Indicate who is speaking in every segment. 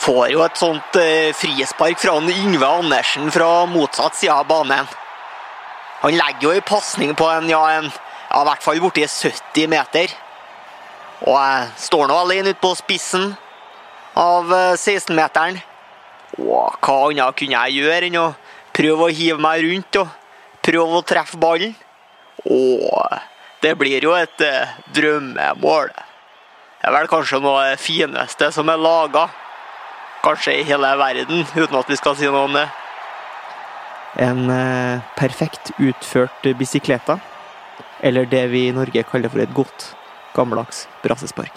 Speaker 1: Får jo et sånt eh, friespark fra han Yngve Andersen fra motsatt side av banen. Han legger jo en pasning på en, ja, en, ja, i hvert fall borti 70 meter. Og jeg står nå alene ute på spissen av eh, 16-meteren. Og hva annet kunne jeg gjøre enn å prøve å hive meg rundt og prøve å treffe ballen? Og det blir jo et eh, drømmemål. Det er vel kanskje noe av det fineste som er laga kanskje i hele verden, uten at vi skal si noe om det. En eh, perfekt utført bisikleta, eller det vi i Norge kaller for et godt, gammeldags brassespark.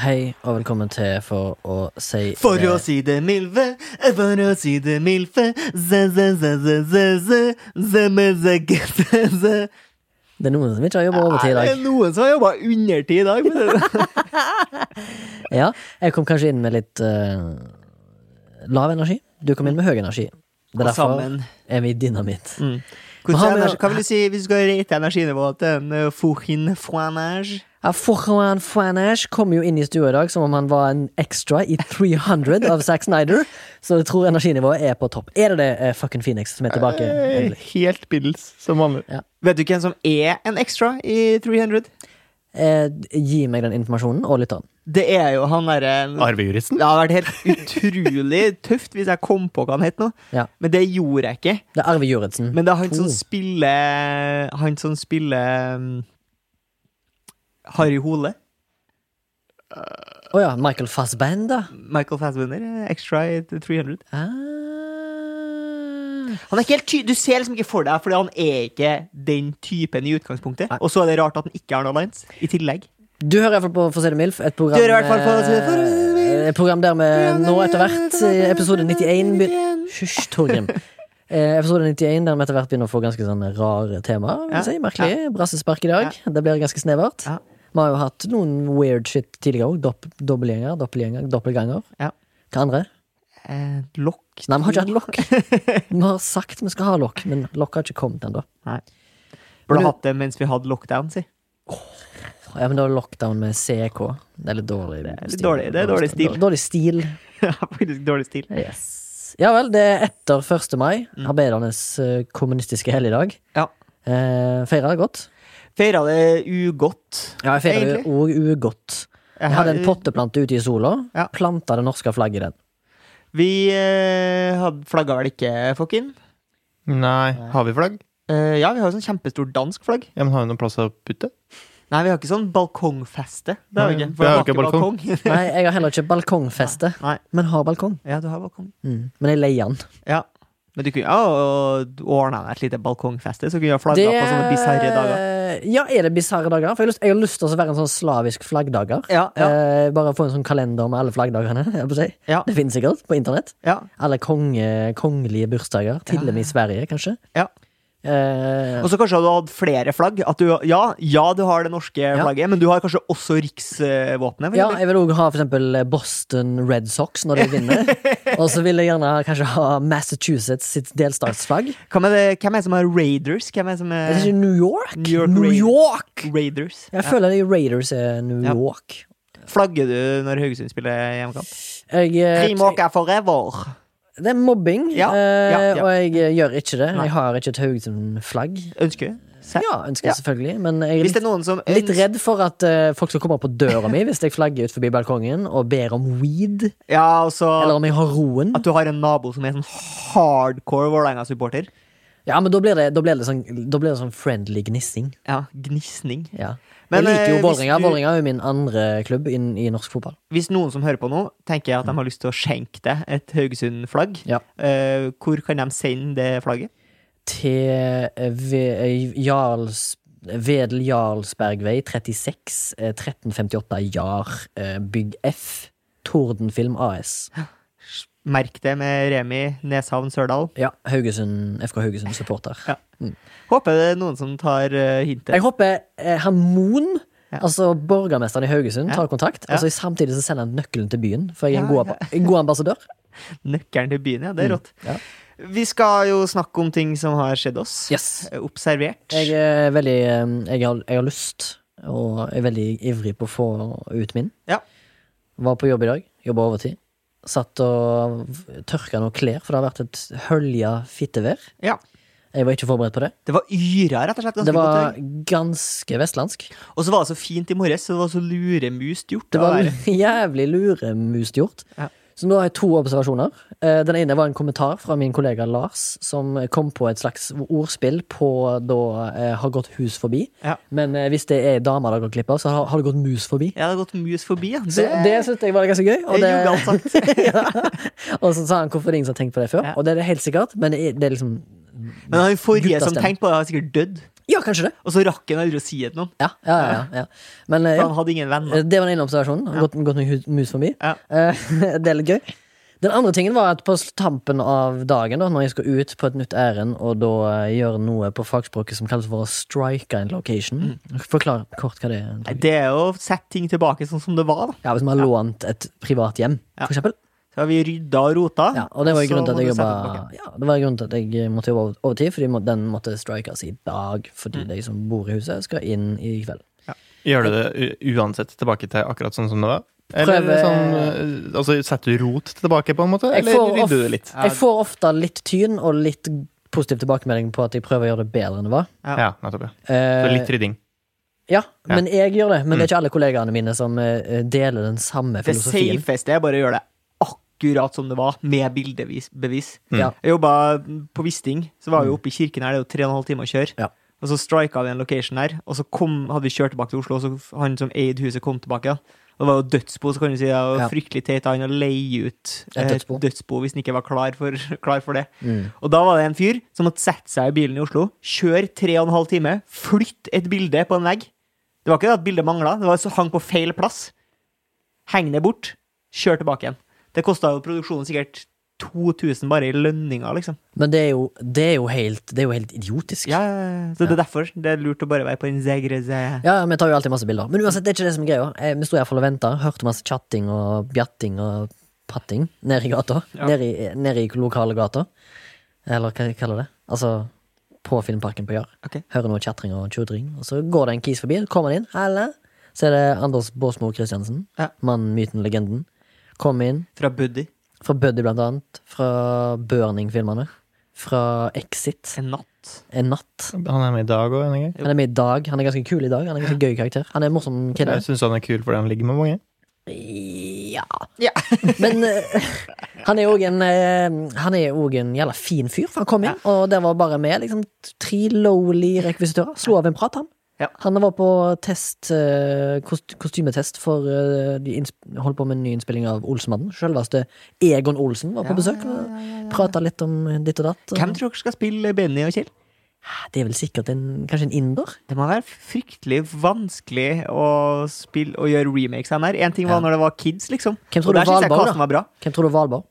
Speaker 2: Hei, og velkommen til For å si
Speaker 1: For å si det milde, for å si det milde, ze, ze, ze, ze, ze, ze, ze, me, ze, ge, ze, ze.
Speaker 2: Det er noen som ikke har jobba overtid i
Speaker 1: Er
Speaker 2: dag.
Speaker 1: det noen som har jobba undertid i dag? men det-
Speaker 2: Ja, Eh, jeg kom kanskje inn med litt eh, lav energi. Du kom inn med høy energi. Det er
Speaker 1: Og
Speaker 2: derfor
Speaker 1: sammen. Mm.
Speaker 2: er vi dynamitt. Men har
Speaker 1: Hvordan
Speaker 2: vi-
Speaker 1: energi- Hva vil du si hvis du skal rate energinivået til en eh, Fouhin Fouanage?
Speaker 2: Ja, Forhan Fanash kom jo inn i stua i dag som om han var en extra i 300 av Zack Snyder, så jeg tror energinivået er på topp. Er det det eh, fucking Phoenix som er tilbake?
Speaker 1: Eh,
Speaker 2: egentlig?
Speaker 1: Helt middels, som vanlig.
Speaker 2: Ja.
Speaker 1: Vet du hvem som er en extra i 300?
Speaker 2: Eh, gi meg den informasjonen, og lytteren.
Speaker 1: Det er jo han derre
Speaker 3: Arvejuristen?
Speaker 1: Det hadde vært helt utrolig tøft hvis jeg kom på hva han het nå,
Speaker 2: Ja.
Speaker 1: men det gjorde jeg ikke.
Speaker 2: Det er Arve Juritzen.
Speaker 1: Men det er han som
Speaker 2: To.
Speaker 1: spiller Han som spiller um, Harry Hole.
Speaker 2: Å ja, Michael Fassbender.
Speaker 1: Michael Fassbender, eh, extra i 300.
Speaker 2: Ah.
Speaker 1: Han er ikke helt ty Du ser liksom ikke for deg, Fordi han er ikke den typen i utgangspunktet. Og så er det rart at han ikke har noen lines i tillegg.
Speaker 2: Du hører i hvert fall på For å si det mildt. Et program,
Speaker 1: Du hører i hvert fall på For å si det- For å si det mildt.
Speaker 2: eh, Et program der vi nå etter hvert, i episode 91 begyn-
Speaker 1: 91.
Speaker 2: Hysj, Torgrim. Eh, Episode 91 der vi etter hvert begynner å få ganske sånne rare temaer. vil
Speaker 1: Ja,
Speaker 2: jeg Si. Merkelig. Brassespark i dag. Det blir ganske snevert.
Speaker 1: Ja.
Speaker 2: Vi har jo hatt noen weird shit tidligere òg. Dopp, dobbeltgjenger, doppelgjenger, doppelganger.
Speaker 1: Ja.
Speaker 2: Hva andre?
Speaker 1: Eh, lokk
Speaker 2: Nei, vi har ikke hatt lokk. Vi har sagt vi skal ha lokk, men lokk har ikke kommet ennå.
Speaker 1: Nei.
Speaker 2: Men
Speaker 1: Burde
Speaker 2: du-
Speaker 1: hatt det mens vi hadde lockdown, si.
Speaker 2: Ja, men da er lockdown med CK. Det er litt dårlig
Speaker 1: er litt dårlig- det er dårlig stil.
Speaker 2: Dårlig stil.
Speaker 1: Ja, Faktisk dårlig stil.
Speaker 2: Yes. Ja vel, det er etter 1. mai, arbeidernes eh, kommunistiske helligdag.
Speaker 1: Ja.
Speaker 2: Eh, feira det godt.
Speaker 1: Feira det ugodt.
Speaker 2: Ja, jeg feira det òg ugodt. Jeg hadde en potteplante ute i sola.
Speaker 1: Ja.
Speaker 2: Planta det norske flagget i den.
Speaker 1: Vi eh, hadde flagga vel ikke, Fokken?
Speaker 3: Nei. Har vi flagg?
Speaker 1: Eh, ja, vi har jo sånn kjempestort dansk flagg.
Speaker 3: Ja, men har vi noen plass å putte?
Speaker 1: Nei, vi har ikke sånn balkongfeste. Det har vi
Speaker 3: Nei,
Speaker 1: ikke.
Speaker 3: vi har
Speaker 1: det
Speaker 3: ikke
Speaker 1: var
Speaker 3: balkong.
Speaker 2: Nei, jeg har heller ikke balkongfeste,
Speaker 1: Nei.
Speaker 2: men har balkong.
Speaker 1: Ja, du har balkong.
Speaker 2: Men jeg leier den.
Speaker 1: Ja. Men du kunne ja, ordna deg et lite balkongfeste, så kunne du ha flagga på sånne bisarre dager.
Speaker 2: Ja, er det bisarre dager? For jeg har lyst- jeg har lyst til å være en sånn slavisk flaggdager.
Speaker 1: Ja, ja.
Speaker 2: Eh, bare få en sånn kalender med alle flaggdagene. jeg holdt på å si.
Speaker 1: Ja.
Speaker 2: Det finnes sikkert på internett.
Speaker 1: Ja,
Speaker 2: Alle konge, kongelige bursdager. Til og med i Sverige, kanskje.
Speaker 1: ja.
Speaker 2: Eh,
Speaker 1: Og så kanskje du har hatt flere flagg. At du, ja, ja, du har det norske flagget, men du har kanskje også riksvåpenet. for
Speaker 2: ja,
Speaker 1: eksempel.
Speaker 2: jeg vil òg ha for eksempel Boston Red Sox når de vinner. Og så vil jeg gjerne kanskje ha Massachusetts sitt delstatsflagg.
Speaker 1: Hvem er det hvem er det som er Raiders? Hvem er det som
Speaker 2: Er det
Speaker 1: er
Speaker 2: ikke New York?
Speaker 1: New York
Speaker 2: New
Speaker 1: Raiders.
Speaker 2: York!
Speaker 1: Raiders?
Speaker 2: Jeg føler de Raiders er New
Speaker 1: Ja.
Speaker 2: York.
Speaker 1: Flagger du når Haugesund spiller hjemmekamp?
Speaker 2: Jeg, eh,
Speaker 1: Frimåka forever!
Speaker 2: det er mobbing,
Speaker 1: Ja,
Speaker 2: eh,
Speaker 1: ja, ja.
Speaker 2: og jeg eh, gjør ikke det.
Speaker 1: Nei.
Speaker 2: Jeg har ikke et Haugesund-flagg.
Speaker 1: Ønsker du? Se.
Speaker 2: Ja, ønsker jeg
Speaker 1: Ja.
Speaker 2: selvfølgelig, men jeg er
Speaker 1: Hvis
Speaker 2: litt,
Speaker 1: det er noen som
Speaker 2: litt
Speaker 1: ønsker-
Speaker 2: redd for at eh, folk skal komme på døra mi hvis jeg flagger ut forbi balkongen og ber om weed,
Speaker 1: Ja, altså
Speaker 2: eller om jeg har roen.
Speaker 1: At du har en nabo som er sånn hardcore Vålerenga-supporter.
Speaker 2: Ja, men da blir det, da blir det, sånn, da blir det sånn friendly gnissing.
Speaker 1: Ja, Gnisning.
Speaker 2: Ja. jeg
Speaker 1: Men,
Speaker 2: liker jo
Speaker 1: eh, hvis
Speaker 2: Vålerenga.
Speaker 1: du-
Speaker 2: Vålerenga er jo min andre klubb inn i norsk fotball.
Speaker 1: Hvis noen som hører på nå, tenker at de har lyst til å skjenke deg et Haugesund-flagg,
Speaker 2: Ja.
Speaker 1: eh, hvor kan de sende det flagget?
Speaker 2: Til eh, Ve- Jarls Vedel Jarlsbergvei 36 eh, 1358 Jar eh, Bygg F Tordenfilm AS.
Speaker 1: Merk det med Remi Neshavn Sørdal.
Speaker 2: Ja, Haugesund, FK Haugesund-supporter.
Speaker 1: Ja. Håper det er noen som tar eh,
Speaker 2: Jeg
Speaker 1: hintet.
Speaker 2: håper eh, Hamon,
Speaker 1: Ja.
Speaker 2: altså borgermesteren i Haugesund,
Speaker 1: Ja.
Speaker 2: tar kontakt.
Speaker 1: Ja.
Speaker 2: Altså Samtidig så sender han nøkkelen til byen, for jeg er en
Speaker 1: Ja,
Speaker 2: god, ab- en god ambassadør.
Speaker 1: Nøkkelen til byen, ja. Det er rått.
Speaker 2: Mm. Ja.
Speaker 1: Vi skal jo snakke om ting som har skjedd oss.
Speaker 2: Yes.
Speaker 1: Eh, Observert.
Speaker 2: Jeg er veldig eh, jeg har, jeg har lyst, og er veldig ivrig på å få ut min.
Speaker 1: Ja.
Speaker 2: Var på jobb i dag. Jobba overtid. Satt og v- tørka noen klær, for det har vært et hølja fittevær.
Speaker 1: Ja.
Speaker 2: Jeg var ikke forberedt på det.
Speaker 1: Det var yra, rett og slett. ganske
Speaker 2: Det var
Speaker 1: godt.
Speaker 2: ganske vestlandsk.
Speaker 1: Og så var det så fint i morges, så det var så luremust gjort.
Speaker 2: Det
Speaker 1: av
Speaker 2: var
Speaker 1: været.
Speaker 2: jævlig luremust gjort.
Speaker 1: Ja.
Speaker 2: Så nå har jeg to observasjoner. Eh, Den ene var en kommentar fra min kollega Lars, som kom på et slags ordspill på da eh, 'har gått hus forbi'.
Speaker 1: Ja.
Speaker 2: Men eh, hvis det er ei dame det har gått glipp av, så har, har det gått mus forbi.
Speaker 1: ja, det har gått mus forbi. Ja.
Speaker 2: Så det syns jeg var ganske gøy. Og,
Speaker 1: er jugalt
Speaker 2: det,
Speaker 1: sagt.
Speaker 2: ja. og så sa han hvorfor det er ingen som har tenkt på det før.
Speaker 1: Ja.
Speaker 2: Og det er det helt sikkert, men det er, det er liksom
Speaker 1: Men han forrige som
Speaker 2: Guttastemning.
Speaker 1: tenkte på det, har sikkert dødd.
Speaker 2: Ja, kanskje det.
Speaker 1: Og så rakk han aldri å si det til noen.
Speaker 2: Ja, ja, ja, ja. Men eh,
Speaker 1: For
Speaker 2: ja.
Speaker 1: han hadde ingen venner.
Speaker 2: Eh, Det var den ene observasjonen. Gått, gått med hu- mus forbi.
Speaker 1: Ja.
Speaker 2: Eh, det er litt gøy. Den andre tingen var at på tampen av dagen, da, når jeg skal ut på et nytt ærend og da eh, gjøre noe på fagspråket som kalles for å strike en location Forklar kort hva det er.
Speaker 1: Mm. Nei, Det er jo å sette ting tilbake sånn som det var. da
Speaker 2: Ja, Hvis man har lånt et privat hjem,
Speaker 1: Ja.
Speaker 2: for eksempel.
Speaker 1: Så har vi rydda og rota.
Speaker 2: Ja, og det var
Speaker 1: så
Speaker 2: grunnen til
Speaker 1: må
Speaker 2: at jeg
Speaker 1: du sette det
Speaker 2: jobba
Speaker 1: tilbake.
Speaker 2: ja, Det var grunnen til at jeg eh, måtte jobbe over- overtid, fordi må- den måtte strikes i dag.
Speaker 1: Mm.
Speaker 2: Fordi de som bor i huset, skal inn i kveld.
Speaker 3: Gjør du det u- uansett tilbake til akkurat sånn som det var? Eller
Speaker 2: Prøve-
Speaker 3: sånn, eh, altså, setter du rot tilbake, på en måte?
Speaker 2: Jeg
Speaker 3: Eller
Speaker 2: får
Speaker 3: rydder du
Speaker 2: of-
Speaker 3: det litt?
Speaker 2: Jeg får ofte litt tyn og litt positiv tilbakemelding på at jeg prøver å gjøre det bedre enn det var.
Speaker 1: Ja.
Speaker 3: Ja, nettopp. Ja.
Speaker 2: Eh,
Speaker 3: Så litt rydding.
Speaker 2: Ja, men jeg gjør det. Men det er ikke alle kollegaene mine som eh, deler den samme
Speaker 1: Mm. Det
Speaker 2: filosofien.
Speaker 1: safeste er bare å gjøre det akkurat som det var, med bildevis- bevis.
Speaker 2: Ja.
Speaker 1: Jeg jobba på Wisting, så var vi oppe i kirken her, det er jo tre og en halv time å kjøre.
Speaker 2: Ja.
Speaker 1: Og så strika vi en location her, og så kom, hadde vi kjørt tilbake til Oslo, og så f- han som eide huset, kom tilbake. Da. Og det var jo dødsbo, så kan du si. Det var
Speaker 2: Ja.
Speaker 1: fryktelig teit av han å leie ut
Speaker 2: Et
Speaker 1: eh,
Speaker 2: dødsbo.
Speaker 1: dødsbo Mm. hvis han ikke var klar for, klar for det. Og da var det en fyr som måtte sette seg i bilen i Oslo, kjøre tre og en halv time, flytte et bilde på en vegg. Det var ikke det at bildet mangla, det var så hang på feil plass. Heng det bort, kjør tilbake igjen. Det kosta jo produksjonen sikkert 2000 bare i lønninger, liksom.
Speaker 2: Men det er, jo, det, er jo helt, det er jo helt idiotisk.
Speaker 1: Ja, ja, ja. så det er derfor det er lurt å bare være på en zegre ze-
Speaker 2: Ja, ja, Vi tar jo alltid masse bilder. Men uansett, det er ikke det som er greia. Eh, Vi sto iallfall og venta. Hørte masse chatting og bjatting og patting nede i gata.
Speaker 1: Ja.
Speaker 2: Nede i, nede i lokale gata. Eller hva jeg kaller det. Altså på Filmparken på Jar.
Speaker 1: Ok.
Speaker 2: Hører noe chatring og tjodring. Og så går det en kis forbi. Kommer han inn. Halla. Så er det Anders Båsmo Christiansen.
Speaker 1: Ja.
Speaker 2: Mannen, myten, legenden. Kommer inn.
Speaker 1: fra Buddy.
Speaker 2: Fra Buddy, blant annet. Fra Burning-filmene. Fra Exit.
Speaker 1: En natt.
Speaker 2: En natt.
Speaker 3: Han er med i dag òg, er han ikke?
Speaker 2: Han er med i dag. Han er ganske kul i dag. Han er en ganske gøy karakter. Han er en morsom kid.
Speaker 3: Jeg syns han er kul fordi han ligger med mange.
Speaker 2: Ja
Speaker 1: Ja.
Speaker 2: Men eh, han er òg en eh, Han er òg en jævla fin fyr, for han kom inn, og der var bare med liksom tre lowly rekvisitører. Slo av en prat, han.
Speaker 1: Ja.
Speaker 2: Han var på test eh, kost, kostymetest for eh, De innsp- holdt på med en ny innspilling av Olsenmannen. Selveste Egon Olsen var på besøk. og Prata litt om ditt og datt. og-
Speaker 1: Hvem tror dere skal spille Benny og Kjell?
Speaker 2: Det er vel sikkert en, kanskje en inder?
Speaker 1: Det må være fryktelig vanskelig å spille og gjøre remakes av den her. En ting var
Speaker 2: Ja.
Speaker 1: når det var kids, liksom.
Speaker 2: Hvem tror
Speaker 1: Og
Speaker 2: du
Speaker 1: der synes jeg
Speaker 2: Valborg,
Speaker 1: casten
Speaker 2: da?
Speaker 1: var bra.
Speaker 2: Hvem tror du er Valborg?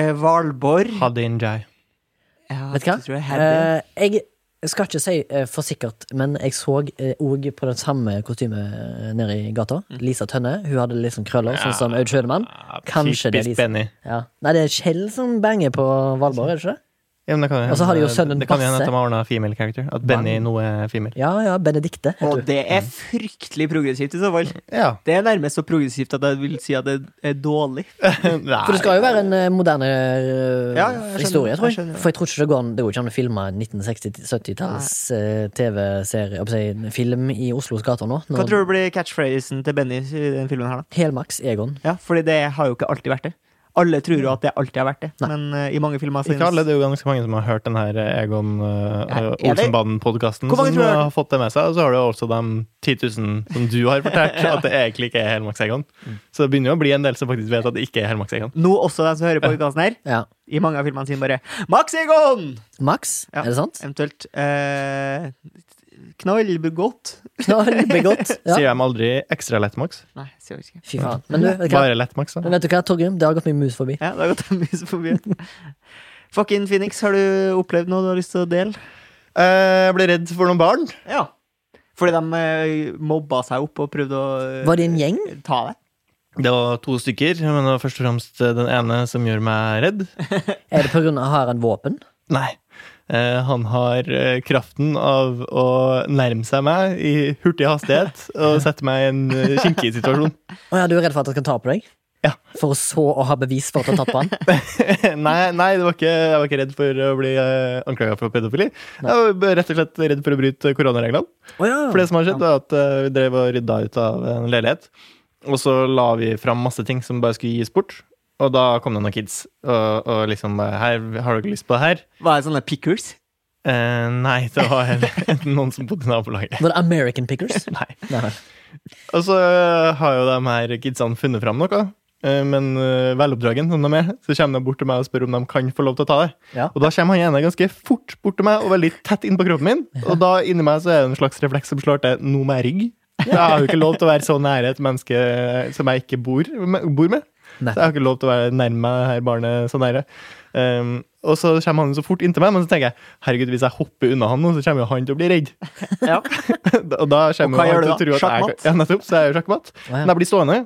Speaker 1: Eh, Valborg
Speaker 3: Hadin Jai.
Speaker 1: ja,
Speaker 2: Vet du hva?
Speaker 1: det tror jeg Hadley.
Speaker 2: Eh, jeg skal ikke si eh, for sikkert, men jeg så òg på det samme kostymet eh, nede i gata.
Speaker 1: Mm.
Speaker 2: Lisa Tønne. Hun hadde litt sånn krøller, sånn som Aud Schødemann. Kanskje det er
Speaker 3: Typisk
Speaker 2: Lisa.
Speaker 3: Benny.
Speaker 2: Ja. Nei, det er Kjell som banger på Valborg, er det ikke det?
Speaker 3: Ja, men det kan jo
Speaker 2: Og så har de jo
Speaker 3: hende-
Speaker 2: sønnen
Speaker 3: Det kan jo hende at
Speaker 2: Basse.
Speaker 3: de har ordna female character. At Benny nå er female.
Speaker 2: Ja ja, Benedicte.
Speaker 1: Og
Speaker 2: heter hun.
Speaker 1: det er fryktelig progressivt i så fall.
Speaker 3: Ja.
Speaker 1: Det er nærmest så progressivt at jeg vil si at det er dårlig.
Speaker 2: For det skal jo være en eh, moderne eh,
Speaker 1: Ja, ja, jeg skjønner.
Speaker 2: historie, tror jeg.
Speaker 1: Jeg skjønner.
Speaker 2: For jeg tror ikke det går an Det går ikke an å filme eh, 1960-70-talls TV-serie, oppsi, film i Oslos gater nå.
Speaker 1: Hva
Speaker 2: Når
Speaker 1: tror du blir catchphrasen til Benny i den filmen her, da?
Speaker 2: Helmaks Egon.
Speaker 1: Ja, fordi det har jo ikke alltid vært det. Alle tror jo at det alltid har vært det,
Speaker 2: Nei.
Speaker 1: men eh, i mange filmer synes-
Speaker 3: Ikke alle, det er jo ganske mange som har hørt den her eh, Egon uh,
Speaker 1: det-
Speaker 3: Olsenbanden-podkasten.
Speaker 1: Hvor mange
Speaker 3: Som
Speaker 1: tror du har hørt
Speaker 3: har fått det med seg. Og så har du også de 10 000 som du har fortalt, at det egentlig ikke er Helmaks-Egon.
Speaker 1: Mm.
Speaker 3: Så det begynner jo å bli en del som faktisk vet at det ikke er Helmaks-Egon.
Speaker 1: Nå også de som hører på podcasten her,
Speaker 2: Ja.
Speaker 1: i mange av filmene sine bare Max Egon!
Speaker 2: Max,
Speaker 1: Ja.
Speaker 2: er det sant?
Speaker 1: Eventuelt eh, knallgodt.
Speaker 2: Knallbegått. Ja.
Speaker 3: Sier de aldri ekstra lettmaks?
Speaker 1: Nei, jeg sier ikke.
Speaker 2: Fy faen. Men du, vet du hva,
Speaker 3: Bare lettmaks, da?
Speaker 2: Men vet du hva Torgrim? Det har gått min mus forbi.
Speaker 1: Ja, det har gått en mus forbi. Fucking Phoenix, har du opplevd noe du har lyst til å dele?
Speaker 3: Eh, Jeg ble redd for noen barn.
Speaker 1: Ja. Fordi de eh, mobba seg opp og prøvde å eh,
Speaker 2: Var det en gjeng?
Speaker 1: ta deg.
Speaker 3: Det var to stykker, men det var først og fremst eh, den ene som gjør meg redd.
Speaker 2: Er det på grunn av har han våpen?
Speaker 3: Nei. Eh, han har eh, kraften av å nærme seg meg i hurtig hastighet og sette meg i en eh, kinkig situasjon.
Speaker 2: Å ja, du er redd for at han kan ta på deg?
Speaker 3: Ja.
Speaker 2: For så å ha bevis for at han har tatt på han?
Speaker 3: nei, nei det var ikke, jeg var ikke redd for å bli eh, anklaga for pedofili. Jeg var rett og slett redd for å bryte koronareglene.
Speaker 2: Å Ah, ja.
Speaker 3: For det som har skjedd, var at eh, vi drev og rydda ut av en leilighet. Og så la vi fram masse ting som bare skulle gis bort. Og da kom det noen kids og, og liksom eh, Her, har dere lyst på det her?
Speaker 1: Var det sånne pickers?
Speaker 3: Eh, nei, det var enten noen som bodde i nabolaget.
Speaker 2: sånn- Var det American Pickers?
Speaker 3: Nei.
Speaker 2: Nei.
Speaker 3: Og så eh, har jo de her kidsene funnet fram noe, eh, men eh, veloppdragen som de er, så kommer de bort til meg og spør om de kan få lov til å ta det.
Speaker 2: Ja.
Speaker 3: Og da kommer han ene ganske fort bort til meg og veldig tett inn på kroppen min. Og da inni meg så er det en slags refleks som slår til nå må jeg rygge. Jeg har jo ikke lov til å være så nære et menneske som jeg ikke bor, bor med.
Speaker 2: Nei.
Speaker 3: Så jeg har ikke lov til å være nærme det her barnet så nære. Um, og så kommer han så fort inntil meg, men så tenker jeg herregud, hvis jeg hopper unna han nå, så kommer jo han til å bli redd.
Speaker 1: Ja.
Speaker 3: og da kommer
Speaker 1: hva
Speaker 3: jo
Speaker 1: gjør
Speaker 3: han til å
Speaker 1: du da?
Speaker 3: tro at jeg
Speaker 1: Sjakkmatt?
Speaker 3: Ja, nettopp, så jeg gjør sjakkmatt.
Speaker 2: Å, ja.
Speaker 3: Men jeg blir stående.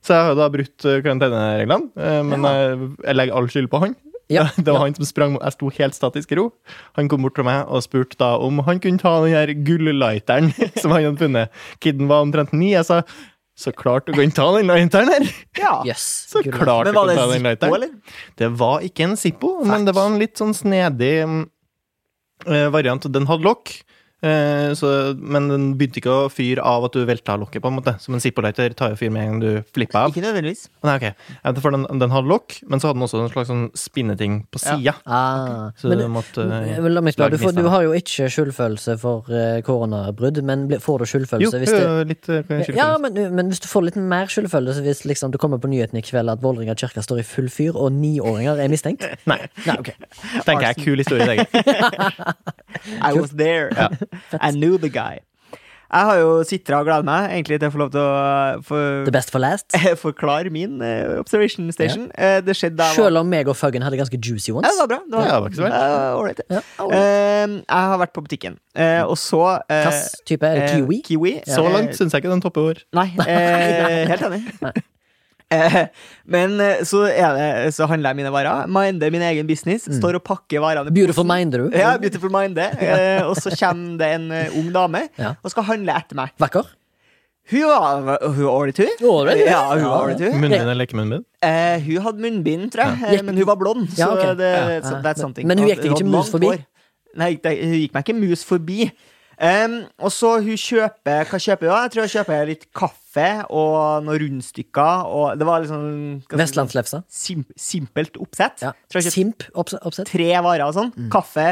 Speaker 3: Så jeg har jo da brutt eh, karantenereglene, eh, men jeg, jeg legger all skyld på han.
Speaker 2: Ja.
Speaker 3: Det var han som sprang Jeg sto helt statisk i ro. Han kom bort til meg og spurte da om han kunne ta den her gulllighteren som han hadde funnet. Kidden var omtrent ni. Jeg sa så klart du kan ta den lighteren her!
Speaker 1: ja.
Speaker 2: Yes.
Speaker 3: Så
Speaker 2: Gud,
Speaker 3: klart du
Speaker 1: Men var
Speaker 3: kan
Speaker 1: det
Speaker 3: ta den
Speaker 1: Zippo,
Speaker 3: lighteren.
Speaker 1: eller?
Speaker 3: Det var ikke en Zippo, men det var en litt sånn snedig mm, eh, variant. Den hadde lokk, eh, så- men den begynte ikke å fyre av at du velta lokket, på en måte. Som en Zippo-lighter tar jo fyr med en gang du flipper av.
Speaker 1: Ikke nødvendigvis.
Speaker 3: Nei, ok. Ja, For den, den hadde lokk, men så hadde den også en slags sånn spinneting på
Speaker 1: Ja.
Speaker 3: sida.
Speaker 2: Ah.
Speaker 3: Så
Speaker 2: Men,
Speaker 3: du måtte
Speaker 2: eh, men la meg spørre, du,
Speaker 3: lage
Speaker 2: får,
Speaker 3: misstand.
Speaker 2: du har jo ikke skyldfølelse for eh, koronabrudd, men blir- får du
Speaker 3: Jo,
Speaker 2: skyldfølelse altså, hvis det
Speaker 3: jo, litt eh, skyldfølelse.
Speaker 2: Ja, men, men hvis du får litt mer skyldfølelse hvis liksom, du kommer på nyheten i kveld at Vålerenga kirke står i full fyr, og niåringer er mistenkt?
Speaker 3: Nei,
Speaker 2: Nei, ok.
Speaker 3: tenker jeg. Kul historie, tenker jeg.
Speaker 1: I was there. I knew the guy. Jeg har jo sitra og gleda meg egentlig til å få lov til å eh, få
Speaker 2: The best for last.
Speaker 1: forklare min eh, observation station. Eh, Det skjedde da jeg var
Speaker 2: Selv om meg og Fuggen hadde ganske juicy
Speaker 1: Ja, det
Speaker 2: ones.
Speaker 1: var bra. Det var,
Speaker 3: Ja, det var ikke så verst.
Speaker 1: Eh, all right.
Speaker 2: Ja.
Speaker 1: Eh, jeg har vært på butikken, eh, og så eh,
Speaker 2: Hvilken type er det?
Speaker 1: eh,
Speaker 2: Kiwi?
Speaker 1: Kiwi.
Speaker 3: Så
Speaker 1: Eh,
Speaker 3: langt syns jeg ikke den topper vår.
Speaker 1: Nei, eh, helt enig. Eh, Men eh, så, er det, så handler jeg mine varer. Minder min egen business. Står og pakker varene. i
Speaker 2: Beautiful
Speaker 1: posen.
Speaker 2: mind, du.
Speaker 1: Ja, beautiful mind det. Eh, og så kommer det en eh, ung dame
Speaker 2: Ja.
Speaker 1: og skal handle etter meg.
Speaker 2: Vakker.
Speaker 1: Hun var hun var ålreit, hun.
Speaker 2: Ålreit, ja.
Speaker 1: ja, hun, var ålreit, hun.
Speaker 3: Munnbind eller ikke munnbind?
Speaker 1: Eh, hun hadde munnbind, tror jeg, eh, men hun var blond. Så
Speaker 2: Ja, ok.
Speaker 1: det,
Speaker 2: Ja.
Speaker 1: så that's something.
Speaker 2: Men hun gikk
Speaker 1: Og
Speaker 2: deg ikke
Speaker 1: hadde
Speaker 2: mus
Speaker 1: langt
Speaker 2: forbi?
Speaker 1: hår. Nei, det- hun gikk meg ikke mus forbi. Em, og så hun kjøper Hva kjøper hun? da? Jeg tror hun kjøper litt kaffe og noen rundstykker. Og det var liksom hva skal jeg si,
Speaker 2: Vestlandslefsa.
Speaker 1: sim, Simpelt oppsett.
Speaker 2: Ja. Mm.
Speaker 1: Tror jeg kjøpte
Speaker 2: Simp opps- oppsett.
Speaker 1: tre varer og sånn. Kaffe,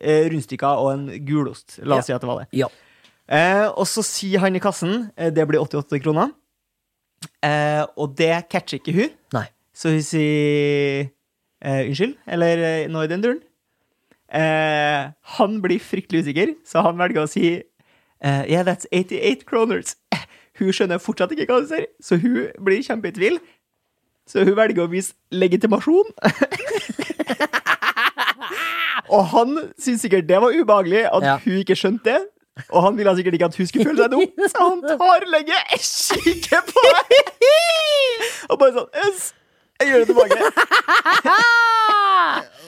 Speaker 1: eh, rundstykker og en gulost. La oss si
Speaker 2: Ja.
Speaker 1: at det var det.
Speaker 2: Ja.
Speaker 1: Eh, og så sier han i kassen eh, det blir 88 kroner. Eh, og det catcher ikke hun.
Speaker 2: Nei.
Speaker 1: Så hun sier eh, unnskyld, eller eh, nå i den duren. Eh, han blir fryktelig usikker, så han velger å si eh, Yeah, that's 88 kroners. Eh, Hun skjønner fortsatt ikke hva hun sier, så hun blir kjempe i tvil. Så hun velger å vise legitimasjon. og han syntes sikkert det var ubehagelig at
Speaker 2: Ja.
Speaker 1: hun ikke skjønte det. Og han ville sikkert ikke at hun skulle føle seg dum, så han tar lenge kikker på meg. Og bare sånn yes, Jeg gjør det tilbake.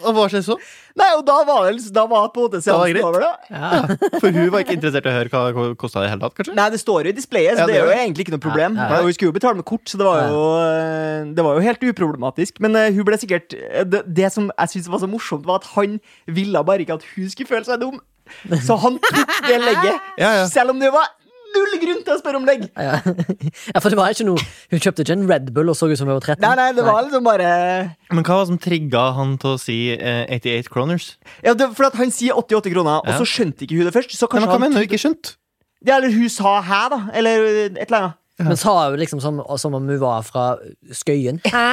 Speaker 3: Og hva skjer så?
Speaker 1: Nei, og da var det, liksom, da var på en måte
Speaker 3: var det
Speaker 1: seansen
Speaker 3: greit.
Speaker 1: over, da.
Speaker 3: For hun var ikke interessert i å høre hva det kosta i det hele tatt, kanskje?
Speaker 1: Nei, det står jo i displayet, så
Speaker 3: Ja,
Speaker 1: det,
Speaker 3: det
Speaker 1: er
Speaker 3: gjør
Speaker 1: jo
Speaker 3: det.
Speaker 1: egentlig ikke noe problem.
Speaker 2: Ja, ja.
Speaker 1: Og hun skulle jo betale med kort, så det var jo, eh, det var jo helt uproblematisk. Men eh, hun ble sikkert eh, det, det som jeg syntes var så morsomt, var at han ville bare ikke at hun skulle føle seg dum. Så han tok det legget,
Speaker 3: Ja, ja.
Speaker 1: selv om det var null grunn til å spørre om legg.
Speaker 2: Ja. ja, for det var ikke noe Hun kjøpte ikke en Red Bull og så ut som hun var 13.
Speaker 1: Nei, nei, det var liksom bare
Speaker 3: Men hva var det som trigga han til å si eh, 88 kroners?
Speaker 1: ja, det, For at han sier 88 kroner, og
Speaker 3: Ja.
Speaker 1: så skjønte ikke hun det først. Så
Speaker 3: Nei,
Speaker 1: kanskje
Speaker 3: men hva
Speaker 1: han
Speaker 3: mener du ikke skjønt?
Speaker 1: Ja, eller hun sa hæ, da. Eller et eller annet.
Speaker 2: Men sa hun liksom som, som om hun var fra Skøyen? Hæ?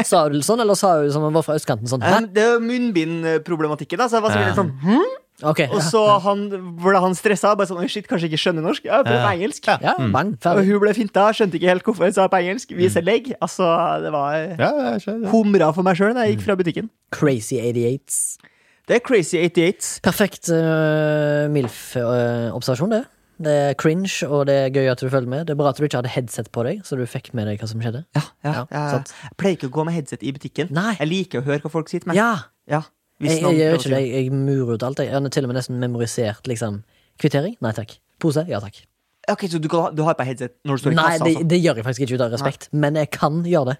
Speaker 1: Eh,
Speaker 2: Sa hun det sånn, eller sa hun som om hun var fra østkanten sånn? Hæ?
Speaker 1: Um, det er jo munnbindproblematikken, da. Så jeg var sikkert litt sånn hm?
Speaker 2: Ok.
Speaker 1: Og så han, ble han stressa. Bare sånn, «Oi, shit, kanskje jeg ikke skjønner norsk. Ja, jeg prøver på
Speaker 3: Ja.
Speaker 1: engelsk.
Speaker 2: Ja, ja bang.
Speaker 1: Mm. Og
Speaker 2: Ferdig.
Speaker 1: hun ble finta. Skjønte ikke helt hvorfor jeg sa på engelsk.
Speaker 2: Mm.
Speaker 1: Vise legg. Altså, det var
Speaker 3: Ja, jeg skjønner det.
Speaker 1: humra for meg sjøl da
Speaker 2: Mm.
Speaker 1: jeg gikk fra butikken.
Speaker 2: Crazy 88s.
Speaker 1: Det er Crazy 88.
Speaker 2: Perfekt eh, MILF-observasjon, det. Det er cringe, og det er gøy at du følger med. Det er bra at du ikke hadde headset på deg, så du fikk med deg hva som skjedde.
Speaker 1: Ja, ja,
Speaker 2: Ja,
Speaker 1: jeg,
Speaker 2: sant.
Speaker 1: jeg pleier ikke å gå med headset i butikken.
Speaker 2: Nei.
Speaker 1: Jeg liker å høre hva folk sier til meg.
Speaker 2: Ja!
Speaker 1: Ja, hvis
Speaker 2: Jeg,
Speaker 1: noen
Speaker 2: jeg gjør
Speaker 1: prøver
Speaker 2: ikke
Speaker 1: å
Speaker 2: det.
Speaker 1: si-
Speaker 2: Jeg, jeg murer ut alt. Jeg Jeg har til og med nesten memorisert liksom kvittering. Nei takk. Pose? Ja takk.
Speaker 1: Ok, Så du, kan, ha- du har på headset når du står i
Speaker 2: Nei,
Speaker 1: kassa?
Speaker 2: det,
Speaker 1: altså.
Speaker 2: det gjør jeg faktisk ikke ut av respekt, men jeg kan gjøre det.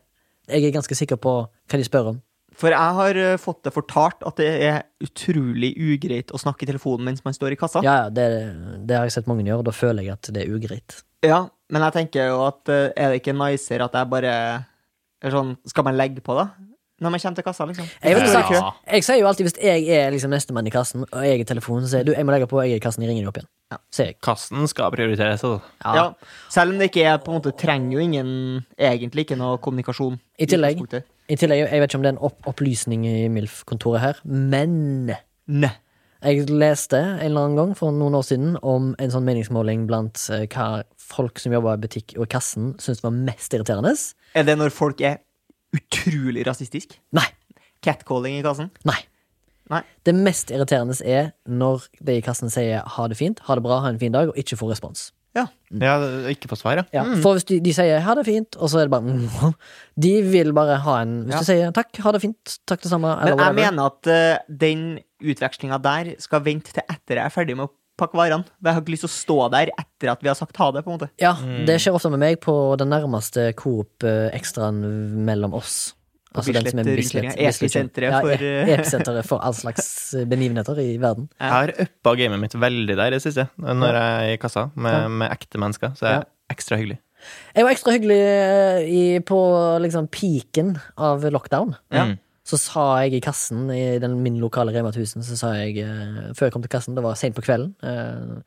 Speaker 2: Jeg er ganske sikker på hva de spør om.
Speaker 1: For jeg har eh, fått det fortalt at det er utrolig ugreit å snakke i telefonen mens man står i kassa.
Speaker 2: Ja, ja, det, det har jeg sett mange gjøre, og da føler jeg at det er ugreit.
Speaker 1: Ja, men jeg tenker jo at eh, er det ikke nicer at jeg bare eller sånn, Skal man legge på, da? Når man kommer til kassa, liksom.
Speaker 2: Jeg, vil ikke
Speaker 1: Hvis man
Speaker 2: sagt,
Speaker 1: står i kø.
Speaker 3: Ja.
Speaker 2: jeg sier jo alltid hvis jeg er liksom nestemann i kassen, og jeg er i telefonen, så sier jeg du, jeg må legge på, jeg er i kassen, jeg ringer deg opp igjen.
Speaker 1: Ja.
Speaker 2: Sier jeg.
Speaker 3: Kassen skal prioriteres. altså.
Speaker 2: Ja.
Speaker 1: Ja, selv om det ikke er på en måte trenger jo ingen egentlig ikke noe kommunikasjon.
Speaker 2: I tillegg.
Speaker 1: utgangspunktet.
Speaker 2: I tillegg, jeg vet ikke om det er en opp opplysning i MILF-kontoret her, men
Speaker 1: Nei.
Speaker 2: jeg leste en eller annen gang for noen år siden om en sånn meningsmåling blant eh, hva folk som jobber i butikk og i kassen syntes var mest irriterende.
Speaker 1: Er det når folk er utrolig rasistiske?
Speaker 2: Nei.
Speaker 1: Catcalling i kassen?
Speaker 2: Nei.
Speaker 1: Nei.
Speaker 2: Det mest irriterende er når de i kassen sier ha det fint, ha det bra, ha en fin dag, og ikke får respons.
Speaker 1: Ja.
Speaker 3: Ja, det- ikke på svar, ja.
Speaker 2: Ja,
Speaker 1: Mm.
Speaker 2: For hvis de, de sier 'ha det fint', og så er det bare mm, De vil bare ha en Hvis
Speaker 1: Ja.
Speaker 2: du sier 'takk, ha det fint', 'takk det samme', eller
Speaker 1: Men jeg
Speaker 2: whatever.
Speaker 1: mener at eh, den utvekslinga der skal vente til etter jeg er ferdig med å pakke varene. For Jeg har ikke lyst til å stå der etter at vi har sagt ha det, på en måte.
Speaker 2: Ja, det skjer ofte med meg på den nærmeste Coop-ekstraen mellom oss. Altså
Speaker 1: På Bislett
Speaker 2: Bislett-
Speaker 1: rundkjøringen. Epi
Speaker 2: Bislett-
Speaker 1: senteret
Speaker 2: ja,
Speaker 1: for, eh,
Speaker 2: e- Episenteret for all slags begivenheter i verden.
Speaker 3: Jeg har uppa gamet mitt veldig der i det siste, når jeg er i kassa med, med ekte mennesker. Så er jeg ekstra hyggelig.
Speaker 2: Jeg var ekstra hyggelig eh, i, på liksom peaken av lockdown.
Speaker 1: Ja.
Speaker 3: Mm.
Speaker 2: Så sa jeg i kassen i den, min lokale Rema 1000, så sa jeg eh, før jeg kom til kassen, det var sent på kvelden eh,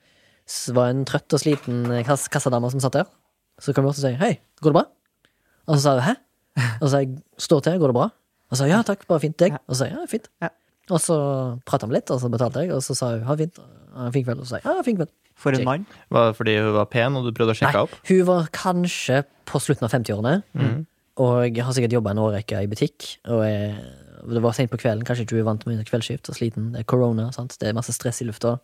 Speaker 2: s- var en trøtt og sliten kass, kassadame som satt der. Så kom jeg bort og sa hei, går det bra? Og så sa jeg hæ? Og så sa jeg står til, går det bra? Og så sa jeg ja takk, bare fint, deg? Og så sa jeg ja, fint.
Speaker 1: Ja.
Speaker 2: Og så prata vi litt, og så betalte jeg, og så sa hun ha det fint, ha en fin kveld. Og så sa jeg ha en fin kveld.
Speaker 1: For en
Speaker 2: Check.
Speaker 1: mann.
Speaker 3: Var det fordi hun var pen, og du prøvde å sjekke
Speaker 2: Nei,
Speaker 3: opp?
Speaker 2: hun var kanskje på slutten av 50-årene, og har sikkert jobba en årrekke i butikk. Og er, det var sent på kvelden, kanskje ikke hun er vant med kveldsskift og sliten. Det er korona, sant? det er masse stress i lufta.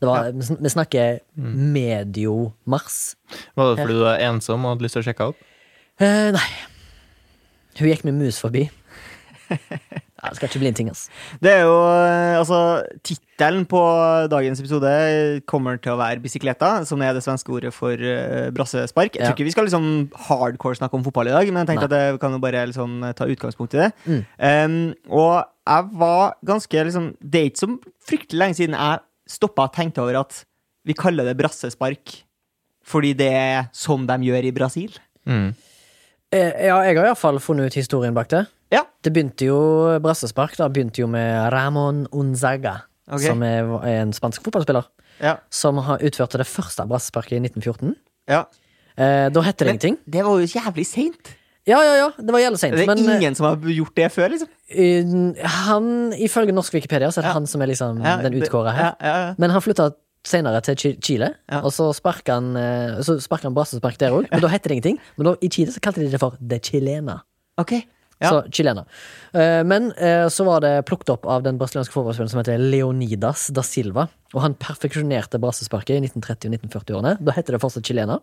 Speaker 2: Det var, vi sn- Vi snakker medio mars.
Speaker 3: Var det fordi du var ensom og hadde lyst til å sjekke opp?
Speaker 2: Eh, nei. Hun gikk med mus forbi. Ja, det skal ikke bli en ting, ass.
Speaker 1: Det er jo eh, altså Tittelen på dagens episode kommer til å være bisikleta, som er det svenske ordet for eh, brassespark. Jeg
Speaker 2: Ja.
Speaker 1: tror ikke vi skal liksom hardcore snakke om fotball i dag, men jeg tenkte at jeg kan jo bare liksom ta utgangspunkt i det.
Speaker 2: Mm.
Speaker 1: Em, og jeg var ganske liksom Det er ikke så fryktelig lenge siden jeg stoppa og tenkte over at vi kaller det brassespark fordi det er som de gjør i Brasil.
Speaker 3: Mm.
Speaker 2: Eh, ja, jeg har iallfall funnet ut historien bak det.
Speaker 1: Ja.
Speaker 2: Det begynte jo brassespark da, begynte jo med Ramón Unzaga,
Speaker 1: Ok.
Speaker 2: som er, er en spansk fotballspiller.
Speaker 1: Ja.
Speaker 2: som har utførte det første brassesparket i 1914.
Speaker 1: ja.
Speaker 2: Eh, da heter det
Speaker 1: Men
Speaker 2: ingenting.
Speaker 1: det var jo jævlig seint.
Speaker 2: Ja, ja, ja, det var jævlig seint.
Speaker 1: Det er
Speaker 2: Men
Speaker 1: ingen som har gjort det før, liksom.
Speaker 2: eh, han, ifølge norsk Wikipedia, så er det
Speaker 1: Ja.
Speaker 2: han som er liksom
Speaker 1: Ja,
Speaker 2: den
Speaker 1: det-
Speaker 2: utkåra her.
Speaker 1: Ja, ja, ja.
Speaker 2: Men han flytta senere til Chi- Chile,
Speaker 1: Ja.
Speaker 2: og så sparka han, eh, så sparka han brassespark der òg. Men da heter det ingenting. Men da, i Chile så kalte de det for de chilena.
Speaker 1: Ok. Ja.
Speaker 2: Så chilena. Eh, men eh, så var det plukket opp av den brasilianske fotballspilleren som heter Leonidas da Silva. Og han perfeksjonerte brassesparket i 1930- og 1940-årene. Da heter det fortsatt chilena.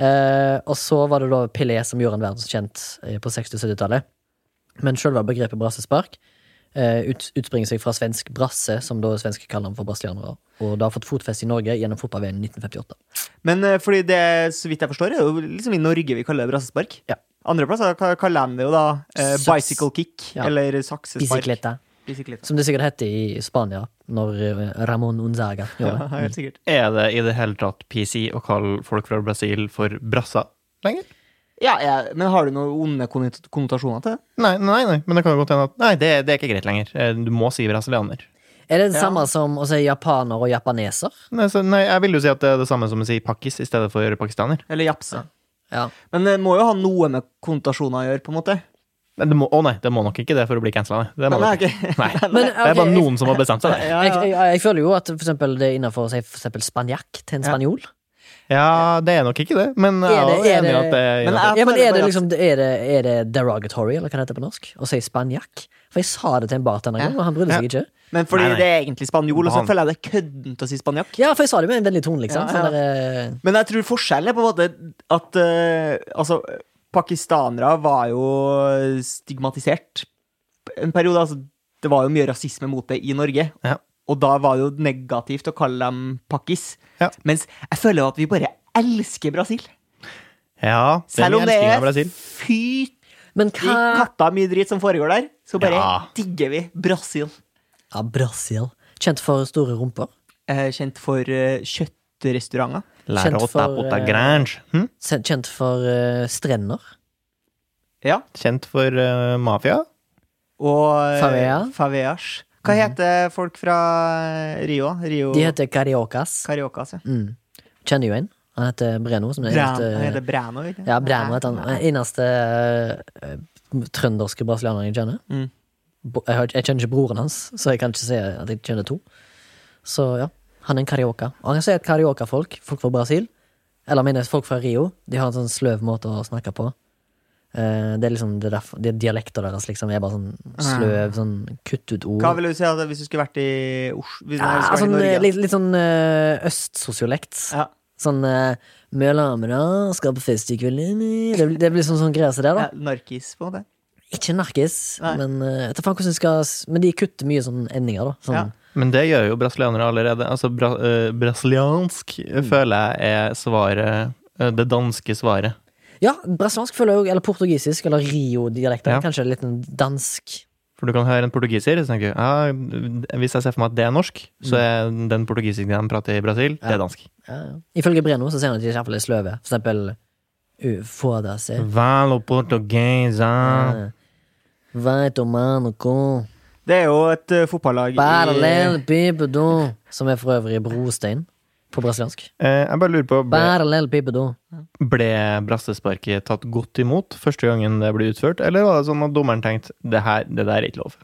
Speaker 2: Eh, og så var det da Pelé som gjorde han verdenskjent eh, på 60- og 70-tallet. Men selve begrepet brassespark eh, ut, utspringer seg fra svensk brasse, som da svenske kaller han for brasilianere. Og det har fått fotfeste i Norge gjennom fotball-VM i 1958.
Speaker 1: Men eh, fordi det, så vidt jeg forstår, er det jo liksom i Norge vi kaller det brassespark.
Speaker 2: Ja.
Speaker 1: Andre plasser ka- kaller de det jo da eh,
Speaker 2: Saks-
Speaker 1: bicycle kick
Speaker 2: Ja.
Speaker 1: eller saksespark.
Speaker 2: Bicicleta,
Speaker 1: Bisikleta.
Speaker 2: som det sikkert het i Spania, når eh, Ramón Unzaga
Speaker 1: Ja,
Speaker 2: gjorde det.
Speaker 1: helt sikkert.
Speaker 3: Er det i det hele tatt PC å kalle folk fra Brasil for brassa lenger?
Speaker 1: Ja, ja, men har du noen onde konnot- konnotasjoner til det?
Speaker 3: Nei, nei, nei, men det kan jo godt hende at Nei, det, det er ikke greit lenger. Eh, Du må si brasilianer.
Speaker 2: Er det det
Speaker 1: Ja.
Speaker 2: samme som å si japaner og japaneser?
Speaker 3: Nei, så, nei, jeg vil jo si at det er det samme som å si pakkis i stedet for pakistaner.
Speaker 1: Eller eh, japse.
Speaker 2: Ja.
Speaker 1: Men det må jo ha noe med konnotasjoner å gjøre, på en måte.
Speaker 3: Nei, det må, å nei, det må nok ikke det for å bli cancela. Nei. Det, må
Speaker 1: Nei,
Speaker 3: nok ikke.
Speaker 1: ok.
Speaker 3: Nei.
Speaker 2: Men,
Speaker 3: det er bare
Speaker 2: ok,
Speaker 3: noen som har bestemt seg. det.
Speaker 1: Ja,
Speaker 2: Jeg,
Speaker 1: ja.
Speaker 2: jeg, jeg føler jo at for eksempel det er innafor å si for eksempel spanjakk til en
Speaker 3: Ja.
Speaker 2: spanjol.
Speaker 3: Ja, det er nok ikke det, men jeg
Speaker 2: Er
Speaker 3: er
Speaker 2: det-
Speaker 3: også
Speaker 2: er
Speaker 3: enig i
Speaker 2: det-
Speaker 3: at det er
Speaker 1: Men
Speaker 3: innenfor.
Speaker 2: Ja, men
Speaker 1: føler
Speaker 2: er det
Speaker 1: bare at-
Speaker 2: liksom Er det, er det derogatory, eller hva det heter på norsk, å si spanjakk? For jeg sa det til en bartender en gang, og han brydde seg ikke.
Speaker 1: Men fordi
Speaker 3: Nei, nei.
Speaker 1: det er egentlig spanjol, og så
Speaker 3: Barn.
Speaker 1: føler jeg det er køddent å si spanjakk.
Speaker 2: Ja, for jeg sa det med en vennlig tone, liksom.
Speaker 1: Ja,
Speaker 2: Sånn
Speaker 1: ja.
Speaker 2: der, eh,
Speaker 1: Men jeg tror forskjellen er på en måte at eh, Altså, pakistanere var jo stigmatisert en periode. Altså, det var jo mye rasisme mot det i Norge.
Speaker 3: Ja.
Speaker 1: Og da var det jo negativt å kalle dem pakkis.
Speaker 3: Ja.
Speaker 1: Mens jeg føler jo at vi bare elsker Brasil.
Speaker 3: Ja, det er
Speaker 1: Selv om det
Speaker 3: elskingen av
Speaker 1: er
Speaker 3: Brasil.
Speaker 1: fytti
Speaker 2: men hva
Speaker 1: katta mye dritt som foregår der, så bare
Speaker 3: Ja.
Speaker 1: digger vi Brasil.
Speaker 2: Ja, Brasil. Kjent for store rumper.
Speaker 1: Eh, kjent for eh, kjøttrestauranter.
Speaker 3: Lære
Speaker 2: Kjent
Speaker 3: å ta
Speaker 2: for,
Speaker 3: på ta
Speaker 2: eh,
Speaker 3: grange. Hm?
Speaker 2: Se- Kjent for eh, strender.
Speaker 1: Ja.
Speaker 3: Kjent for eh, mafia.
Speaker 1: Og eh,
Speaker 2: Favea. Mhm.
Speaker 1: Faveas. Hva heter folk fra Rio? Rio altså.
Speaker 2: De heter cariocas.
Speaker 1: Cariocas, ja.
Speaker 2: Mm. Kjenner jo en. Han heter Breno. Som er
Speaker 1: Bra-
Speaker 2: eneste-
Speaker 1: Han heter Breno, ikke
Speaker 2: ja, Breno heter han. Den eneste eh, trønderske brasilianeren jeg kjenner.
Speaker 1: Mm.
Speaker 2: Bo- Jeg, har- jeg kjenner ikke broren hans, så jeg kan ikke si at jeg kjenner to. Så ja, han er en carioca. Og han kan si at carioca-folk, folk fra Brasil, eller mine folk fra Rio, de har en sånn sløv måte å snakke på. Eh, Det er liksom det er derfor, det er dialekter deres liksom er bare sånn sløv, sånn kutt ut ord.
Speaker 1: Hva ville du si at hvis du skulle vært i Oslo? Hvis du
Speaker 2: Ja,
Speaker 1: skulle vært
Speaker 2: sånn,
Speaker 1: i Norge?
Speaker 2: litt, litt sånn eh, østsosiolekt.
Speaker 1: Ja.
Speaker 2: Sånn eh, Møla Amra skal på fest i kveld inni». Det, blir- det blir sånn, sånn greier som det,
Speaker 1: Ja,
Speaker 2: da.
Speaker 1: narkis, på en måte.
Speaker 2: Ikke narkis,
Speaker 1: Nei.
Speaker 2: men eh, jeg vet da faen hvordan jeg skal s- Men de kutter mye sånn endinger, da. Sånn,
Speaker 1: Ja.
Speaker 3: Men det gjør jo brasilianere allerede. Altså, bra, eh, brasiliansk eh, føler jeg er svaret eh, Det danske svaret.
Speaker 2: ja, brasiliansk føler jeg òg, eller portugisisk, eller Rio-dialekter.
Speaker 3: Ja.
Speaker 2: Kanskje litt en dansk.
Speaker 3: For du kan høre en portugiser og tenke ah, Hvis jeg ser for meg at det er norsk, så er den portugiseren de prater i Brasil, det er dansk.
Speaker 2: Mm. Ja, ja. Ifølge Breno så sier han at de i hvert fall er sløve. For eksempel u- Få det se.
Speaker 3: Valo portuguesa.
Speaker 2: Ja. Vai tomar noe.
Speaker 1: Det er jo et eh, fotballag i
Speaker 2: Parallel pipedo. Som er for øvrig brostein på brasiliansk.
Speaker 3: Eh, jeg bare lurer på, ble,
Speaker 2: Parallell pipedo.
Speaker 3: ble brassesparket tatt godt imot første gangen det ble utført, eller var det sånn at dommeren tenkte det, her, det der er ikke lov?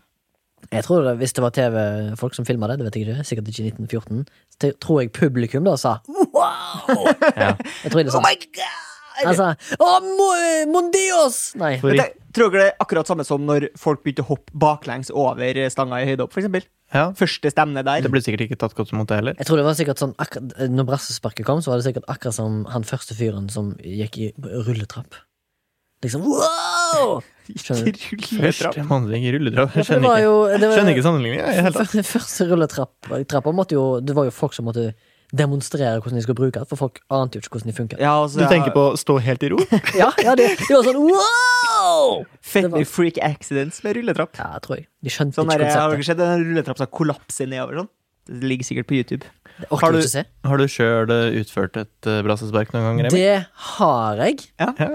Speaker 2: Jeg tror det, Hvis det var TV-folk som filma det, det vet jeg ikke, sikkert ikke i 1914, så te- tror jeg publikum da sa wow!
Speaker 3: Ja.
Speaker 2: Jeg tror de sa
Speaker 1: Oh my god!
Speaker 2: altså, oh, mo, mon dios! Nei.
Speaker 3: For,
Speaker 1: Men det, tror dere det er akkurat samme som når folk begynte å hoppe baklengs over stanga i høydehopp, for eksempel?
Speaker 3: ja,
Speaker 1: Første stemne der.
Speaker 3: det ble sikkert ikke tatt godt imot, det heller.
Speaker 2: Jeg tror det var sikkert sånn akkurat, Når brassesparket kom, så var det sikkert akkurat som han første fyren som gikk i rulletrapp. Liksom wow! Skjønner du?
Speaker 1: Rulletrapp.
Speaker 3: Første mannlig i rulletrapp. Jeg
Speaker 2: det
Speaker 3: skjønner
Speaker 2: var
Speaker 3: ikke,
Speaker 2: jo det var,
Speaker 3: skjønner ikke sånn sammenligninga. i det hele tatt.
Speaker 2: Den første rulletrappa måtte jo Det var jo folk som måtte demonstrere hvordan de skulle bruke det, for folk ante jo ikke hvordan de funka.
Speaker 1: Ja, altså,
Speaker 3: Du tenker på å stå helt i ro?
Speaker 2: Ja, ja, det, det var sånn wow!
Speaker 1: Fett
Speaker 2: Det var-
Speaker 1: mye freak accidents med rulletrapp.
Speaker 2: Ja, tror jeg. De skjønte
Speaker 1: Sånn
Speaker 2: ikke
Speaker 1: der, har
Speaker 2: konseptet.
Speaker 1: dere sett den rulletrappa som kolapser nedover sånn? Det ligger sikkert på YouTube.
Speaker 2: Det
Speaker 3: Har
Speaker 2: orker
Speaker 3: du-
Speaker 2: du ikke se.
Speaker 3: Har du sjøl utført et eh, brassespark noen gang? Remi?
Speaker 2: Det har jeg.
Speaker 3: Ja.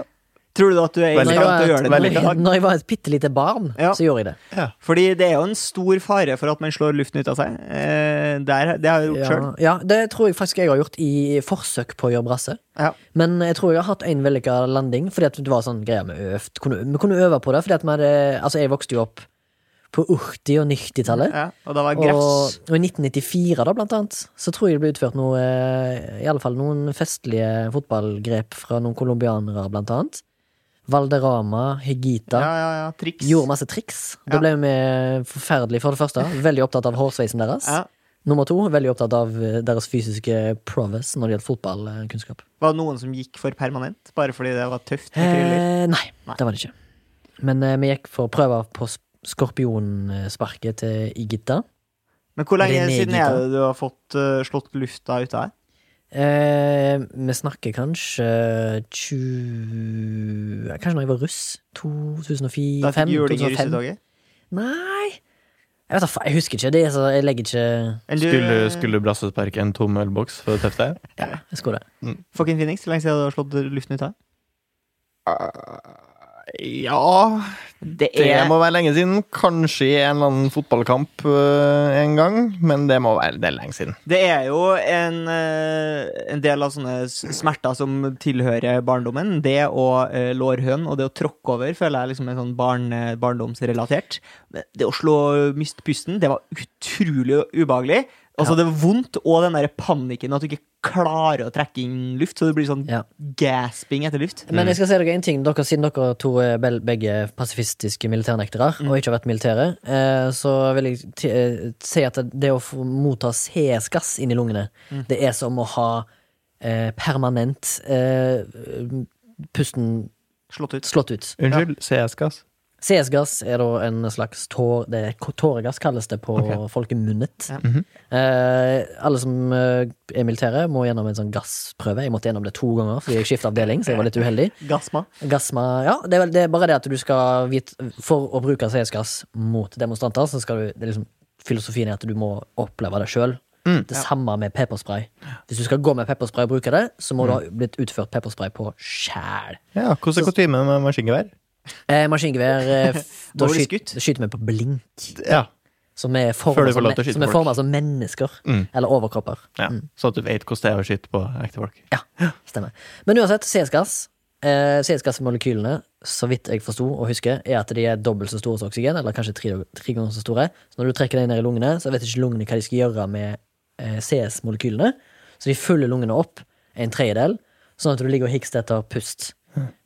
Speaker 1: Tror du at du er i
Speaker 3: Veldig
Speaker 2: Når
Speaker 1: stand til å
Speaker 2: jeg
Speaker 1: gjøre det?
Speaker 2: var
Speaker 3: veldig
Speaker 2: et,
Speaker 1: nå?
Speaker 2: når jeg var et bitte lite barn,
Speaker 1: Ja.
Speaker 2: så gjorde jeg det.
Speaker 1: Fordi det er jo en stor fare for at man slår luften ut av seg. Eh, der, det har jeg gjort sjøl.
Speaker 2: Ja, ja, det tror jeg faktisk jeg har gjort i forsøk på å gjøre brasse.
Speaker 1: Ja.
Speaker 2: Men jeg tror jeg har hatt en vellykka landing, fordi at det var sånn greier vi øvd. Kunne, vi kunne øve på det, fordi at vi hadde Altså, jeg vokste jo opp på 80- og 90-tallet.
Speaker 1: Ja, og da var
Speaker 2: Og,
Speaker 1: gress.
Speaker 2: og i 1994, da, blant annet, så tror jeg det ble utført noe eh, I alle fall noen festlige fotballgrep fra noen colombianere, blant annet. Valderama, Hegita.
Speaker 1: Ja, ja, ja. Triks.
Speaker 2: Gjorde masse triks. Da
Speaker 1: Ja.
Speaker 2: ble vi forferdelige, for det første. Veldig opptatt av hårsveisen deres.
Speaker 1: Ja.
Speaker 2: Nummer to, veldig opptatt av eh, deres fysiske prowess når det gjelder fotballkunnskap.
Speaker 1: Var det noen som gikk for permanent, bare fordi det var tøft? med kriller?
Speaker 2: Eh, nei, det var det ikke. Men eh, vi gikk for prøver på sk- skorpionsparket til Igita.
Speaker 1: Men hvor lenge
Speaker 2: René
Speaker 1: siden
Speaker 2: Gita.
Speaker 1: er det du har fått eh, slått lufta ut av deg?
Speaker 2: Eh, vi snakker kanskje 20 Kanskje når jeg var russ? 2004?
Speaker 1: Da fikk
Speaker 2: 2005?
Speaker 1: juling i
Speaker 2: 2005.
Speaker 1: russetoget?
Speaker 2: Nei Jeg vet da faen, jeg husker ikke. Det er så, jeg legger ikke
Speaker 1: Eller du-
Speaker 3: Skulle, skulle du brassesparke en tom ølboks for å tøffe deg?
Speaker 2: Ja, jeg husker det.
Speaker 1: Fucking Phoenix, hvor lenge siden har du har slått luften ut av deg?
Speaker 3: Ja
Speaker 1: Det
Speaker 3: Det
Speaker 1: er
Speaker 3: må være lenge siden. Kanskje i en eller annen fotballkamp øh, en gang, men det må være det er lenge siden.
Speaker 1: Det er jo en, eh, en del av sånne s- smerter som tilhører barndommen. Det og eh, lårhøn og det å tråkke over føler jeg liksom er sånn barn, eh, barndomsrelatert. Men Det å slå eh, miste pusten, det var utrolig ubehagelig. Altså Det var vondt, og den der panikken at du ikke klarer å trekke inn luft, så det blir sånn
Speaker 2: Ja.
Speaker 1: gasping etter luft.
Speaker 2: Men jeg skal si dere en ting. Dere, siden dere to er bel- begge pasifistiske militærnektere
Speaker 1: Mm.
Speaker 2: og ikke har vært militære, eh, så vil jeg ti- eh, si at det å få motta CS-gass inn i lungene,
Speaker 1: Mm.
Speaker 2: det er som å ha eh, permanent eh, pusten
Speaker 1: Slått ut.
Speaker 2: slått ut.
Speaker 3: Unnskyld, CS-gass.
Speaker 2: CS-gass er da en slags tår, det er k- tåregass, kalles det på folkemunnet.
Speaker 1: Ja.
Speaker 2: eh, alle som eh, er militære, må gjennom en sånn gassprøve. Jeg måtte gjennom det to ganger fordi jeg skifta avdeling, så jeg var litt uheldig.
Speaker 1: Gasma.
Speaker 2: Gassma, ja, det er, vel, det er bare det at du skal vite For å bruke CS-gass mot demonstranter, så skal du det er liksom, Filosofien er at du må oppleve det sjøl. det samme med pepperspray. Hvis du skal gå med pepperspray og bruke det, så må du ha blitt utført pepperspray på sjæl.
Speaker 3: Ja, hvordan er kutymen med maskingevær?
Speaker 2: Eh, maskingevær eh, f- Da
Speaker 1: Da blir det
Speaker 2: skyt, skyter vi på blink,
Speaker 3: Ja.
Speaker 2: som er
Speaker 3: Før
Speaker 2: forma
Speaker 3: du får
Speaker 2: som,
Speaker 3: lov til å skyte
Speaker 2: som, er
Speaker 3: folk.
Speaker 2: formet som mennesker.
Speaker 3: Mm.
Speaker 2: Eller overkropper.
Speaker 3: ja. Så at du vet hvordan det er å skyte på ekte folk.
Speaker 2: Ja, stemmer. Men uansett, CS-gass eh, CS-gassmolekylene, så vidt jeg forsto og husker, er at de er dobbelt så store som oksygen, eller kanskje tre, tre ganger så store. Så når du trekker dem ned i lungene, så vet ikke lungene hva de skal gjøre med eh, CS-molekylene. Så de fyller lungene opp en tredjedel, sånn at du ligger og hikster etter pust.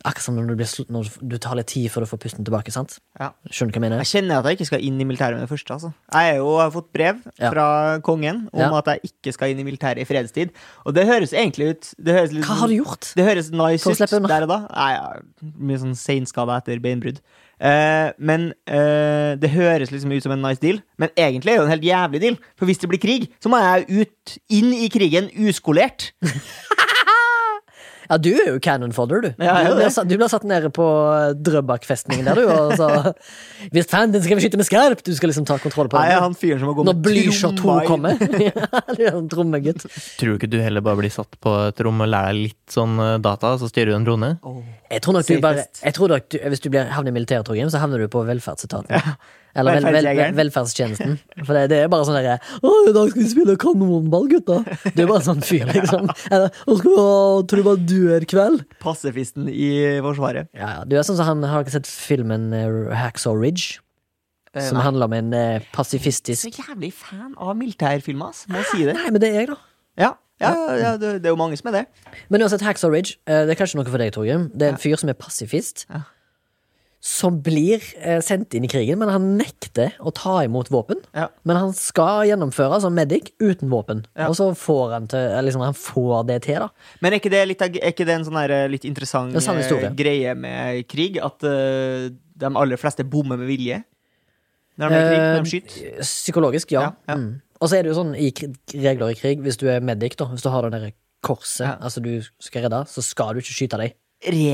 Speaker 2: Akkurat som når du, blir sl når du tar litt tid før du får pusten tilbake. sant?
Speaker 1: Ja.
Speaker 2: Skjønner du hva jeg mener?
Speaker 1: Jeg kjenner at jeg ikke skal inn i militæret med det første. Altså. Jeg, er jo, jeg har fått brev
Speaker 2: Ja.
Speaker 1: fra kongen om
Speaker 2: Ja.
Speaker 1: at jeg ikke skal inn i militæret i fredstid. Og det høres egentlig ut det høres litt,
Speaker 2: Hva har du gjort?
Speaker 1: Det høres nice
Speaker 2: For å
Speaker 1: ut
Speaker 2: slippe unna.
Speaker 1: der og da. Nei, ja, mye sånn seinskada etter beinbrudd. Eh, men eh, det høres liksom ut som en nice deal, men egentlig er det jo en helt jævlig deal. For hvis det blir krig, så må jeg ut, inn i krigen uskolert.
Speaker 2: Ja, du er jo cannon fodder, du.
Speaker 1: Ja, jeg er
Speaker 2: du,
Speaker 1: det.
Speaker 2: blir satt, du blir satt nede på eh, Drøbak-festningen der, du. Og så Hvis fanden skal vi skyte med skarpt! Du skal liksom ta kontroll på
Speaker 1: Jeg er
Speaker 2: det.
Speaker 1: han fyren som må gå
Speaker 2: Når
Speaker 1: med
Speaker 2: Blysjå 2
Speaker 1: tromma i-
Speaker 2: kommer. ja, du er en trommegutt.
Speaker 3: Tror du ikke du heller bare blir satt på et rom og lærer deg litt sånn eh, data, så styrer du en drone?
Speaker 2: Jeg tror nok du bare
Speaker 1: Safest.
Speaker 2: jeg tror nok du, Hvis du blir havner i militæret, Torgrim, så havner du på velferdsetaten. Eller vel, vel,
Speaker 1: Velferdsjegeren.
Speaker 2: velferdstjenesten. For det, det er bare sånn derre 'Å, i dag skal vi spille kanonball, gutta'. Du er bare sånn fyr, liksom. Eller 'Å, skal vi ha trubadur-kveld'?
Speaker 1: Passifisten i Forsvaret.
Speaker 2: Ja, ja. Du er sånn som han har dere sett filmen eh, Hacksaw Ridge.
Speaker 1: Eh,
Speaker 2: Som
Speaker 1: nei.
Speaker 2: handler om en eh, pasifistisk
Speaker 1: Så jævlig fan av militærfilmer, ass. Må jeg si det.
Speaker 2: Nei, men det er jeg, da.
Speaker 1: Ja, ja, ja det, det er jo mange som er det.
Speaker 2: Men uansett, Hacksaw Ridge eh, det er kanskje noe for deg, Torgrim. Det er en fyr som er pasifist.
Speaker 1: Ja.
Speaker 2: Som blir eh, sendt inn i krigen, men han nekter å ta imot våpen.
Speaker 1: Ja.
Speaker 2: Men han skal gjennomføre som medic uten våpen.
Speaker 1: Ja.
Speaker 2: Og så får han, til, eller liksom, han får det til, da.
Speaker 1: Men er ikke det, litt, av- er ikke det en sånn her, eh, litt interessant
Speaker 2: Det er samme
Speaker 1: eh,
Speaker 2: historie.
Speaker 1: greie med krig? At eh, de aller fleste bommer med vilje? Når de er i krig, når de skyter?
Speaker 2: Eh, Psykologisk, ja.
Speaker 1: Ja, ja.
Speaker 2: Mm. Og så er det jo sånn i krig, regler i krig, hvis du er medic, da, hvis du har det derre korset
Speaker 1: Ja.
Speaker 2: altså du skal redde, så skal du ikke skyte deg.
Speaker 1: Eh,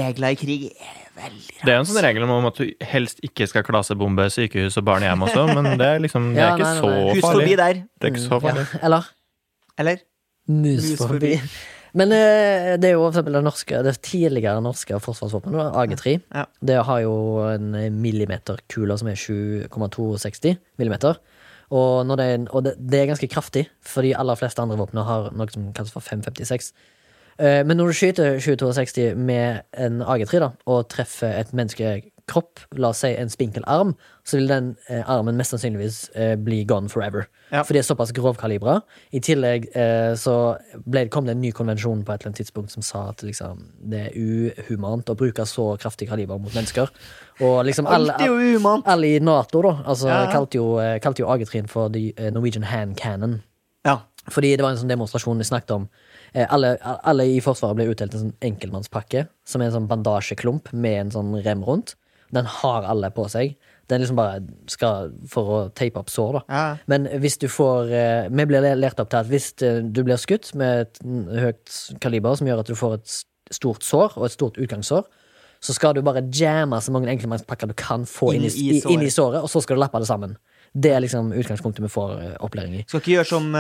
Speaker 1: Regler i krig er veldig
Speaker 3: Det er jo en sånn regel om at du helst ikke skal klasebombe sykehus og barnehjem også, men det er liksom Det er
Speaker 2: Ja,
Speaker 3: ikke
Speaker 2: nei, nei,
Speaker 3: så
Speaker 2: nei.
Speaker 1: Hus forbi
Speaker 3: farlig.
Speaker 1: der,
Speaker 3: Det er ikke så
Speaker 2: Ja,
Speaker 3: farlig.
Speaker 2: eller?
Speaker 1: eller?
Speaker 2: Mus
Speaker 1: Mus
Speaker 2: forbi.
Speaker 1: forbi.
Speaker 2: Men eh, det er jo for eksempel det norske, det tidligere norske forsvarsvåpenet, det var AG3.
Speaker 1: Ja.
Speaker 2: Det har jo en millimeterkule som er 7,260 millimeter. Og, når det, er, og det, det er ganske kraftig, for de aller fleste andre våpnene har noe som kalles for 556. Eh, Men når du skyter 7,62 med en AG3 da, og treffer et menneskekropp, la oss si en spinkel arm, så vil den eh, armen mest sannsynligvis eh, bli gone forever.
Speaker 1: Ja.
Speaker 2: For de er såpass grovkalibra. I tillegg eh, så ble, kom det en ny konvensjon på et eller annet tidspunkt som sa at liksom, det er uhumant å bruke så kraftig kaliber mot mennesker. Og liksom alle,
Speaker 1: Alt er jo umant.
Speaker 2: alle i Nato da, altså,
Speaker 1: Ja, ja.
Speaker 2: kalte jo, eh, kalte jo AG3 for the eh, Norwegian Hand Cannon.
Speaker 1: Ja.
Speaker 2: Fordi det var en sånn demonstrasjon vi snakket om. Eh, Alle, alle i Forsvaret ble utdelt en sånn enkeltmannspakke, som er en sånn bandasjeklump med en sånn rem rundt. Den har alle på seg. Den liksom bare skal for å tape opp sår, da.
Speaker 1: Ja.
Speaker 2: Men hvis du får eh, Vi blir lært opp til at hvis eh, du blir skutt med et mm, høyt kaliber som gjør at du får et s- stort sår, og et stort utgangssår, så skal du bare jamme så mange enkeltmannspakker du kan få inn,
Speaker 1: Inn
Speaker 2: i,
Speaker 1: i
Speaker 2: i, inn i såret, og så skal du lappe det sammen. Det er liksom utgangspunktet vi får eh, opplæring i.
Speaker 1: Skal ikke gjøre som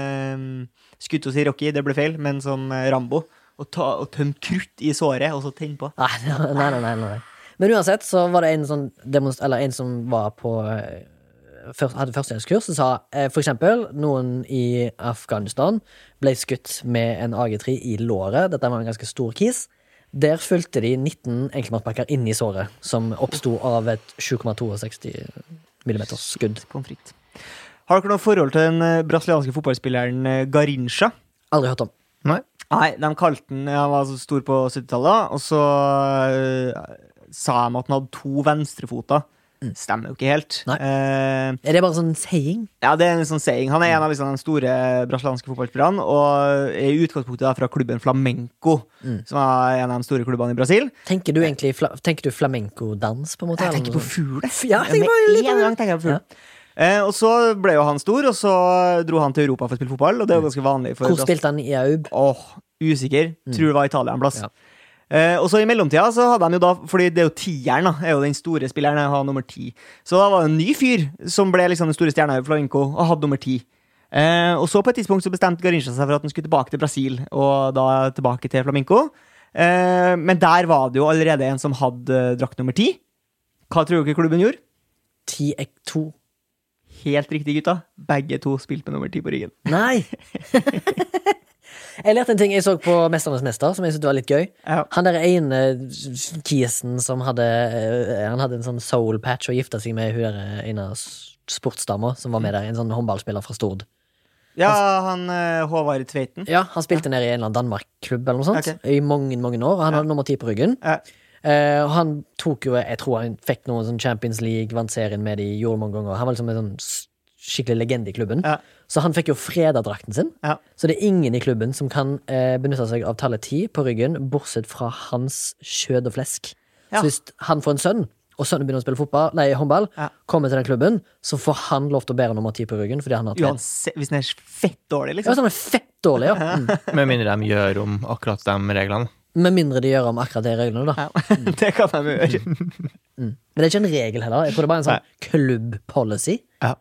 Speaker 1: uh, skutt hos i Rocky, det ble feil, men som eh, Rambo. Å ta- å tømme krutt i såret, og så tenne på.
Speaker 2: Nei, nei, nei, nei, nei. Men uansett så var det en, sånn demonst eller en som var på eh, før- hadde førstehjelpskurs, og sa eh, for eksempel noen i Afghanistan ble skutt med en AG3 i låret. Dette var en ganske stor kis. Der fulgte de 19 enkeltmannspakker inni såret, som oppsto av et 7,62 millimeters skudd.
Speaker 1: Pommes frites. Har dere noe forhold til den eh, brasilianske fotballspilleren eh, Garincha?
Speaker 2: Aldri hørt om.
Speaker 3: Nei?
Speaker 1: Nei, de kalte den Han var så stor på 70-tallet, og så eh, sa de at han hadde to venstrefoter. Stemmer jo ikke helt.
Speaker 2: Nei.
Speaker 1: Eh,
Speaker 2: Er det bare sånn saying?
Speaker 1: Ja, det er en sånn saying. Han er en av liksom, de store brasilianske fotballspillerne, og er i utgangspunktet da fra klubben Flamenco, som er en av de store klubbene i Brasil.
Speaker 2: Tenker du egentlig fla tenker du flamenco-dans, på en måte?
Speaker 1: Jeg tenker
Speaker 2: eller
Speaker 1: på
Speaker 2: noe sånt?
Speaker 1: fugl.
Speaker 2: F- ja, jeg tenker på
Speaker 1: Med
Speaker 2: litt av
Speaker 1: en
Speaker 2: det.
Speaker 1: gang tenker jeg på fugl. Eh, og så ble jo han stor, og så dro han til Europa for å spille fotball, og det er jo ganske vanlig. For
Speaker 2: Hvor
Speaker 1: Brasil-
Speaker 2: spilte han i Aub?
Speaker 1: Åh, usikker. Tror det var Italia en plass.
Speaker 2: Ja.
Speaker 1: Eh, og så I mellomtida så hadde han jo da Fordi det er jo tieren, da. Er jo den store spilleren. Han har nummer ti. Så da var det en ny fyr som ble liksom den store stjerna i flamenco og hadde nummer ti. Eh, og så på et tidspunkt så bestemte Garincha seg for at han skulle tilbake til Brasil, og da tilbake til flamenco. Eh, men der var det jo allerede en som hadde eh, drakt nummer ti. Hva tror dere klubben gjorde?
Speaker 2: 10-2.
Speaker 1: Helt riktig, gutta. Begge to spilte med nummer ti på ryggen.
Speaker 2: Nei! jeg lærte en ting jeg så på Mesternes mester, som jeg syntes var litt gøy.
Speaker 1: Ja.
Speaker 2: Han der ene kisen som hadde eh, Han hadde en sånn soul patch og gifta seg med hun der eh, ene s- sportsdama som var med der. En sånn håndballspiller fra Stord.
Speaker 1: Ja, han eh, Håvard Tveiten.
Speaker 2: Ja, Han spilte nede i en eller annen Danmark-klubb eller noe sånt
Speaker 1: Ok.
Speaker 2: i mange mange år. og Han hadde nummer ti på ryggen.
Speaker 1: Ja.
Speaker 2: Eh, og han tok jo Jeg tror han fikk noen sånn Champions League, vant serien med de, gjorde det mange ganger. Han var liksom en sånn s- skikkelig legende i klubben.
Speaker 1: Ja.
Speaker 2: Så han fikk jo freda drakten sin.
Speaker 1: Ja.
Speaker 2: Så det er ingen i klubben som kan eh, benytte seg av tallet 10 på ryggen, bortsett fra hans kjød og flesk. Så
Speaker 1: Ja.
Speaker 2: hvis han får en sønn, og sønnen begynner å spille fotball, nei, håndball,
Speaker 1: Ja.
Speaker 2: kommer til den klubben, så får han lov til å bære nummer 10 på ryggen fordi han har trent.
Speaker 1: Uansett, hvis den er fett dårlig,
Speaker 2: Ja,
Speaker 1: liksom.
Speaker 2: så han er fett dårlig, ja. Mm.
Speaker 3: Med mindre de gjør om akkurat de reglene.
Speaker 2: Med mindre de gjør om akkurat de reglene, da.
Speaker 1: Ja, det kan de jo gjøre.
Speaker 2: Men det er ikke en regel heller. Jeg tror det er bare en sånn
Speaker 3: Nei.
Speaker 2: klubb-policy.
Speaker 3: Ja.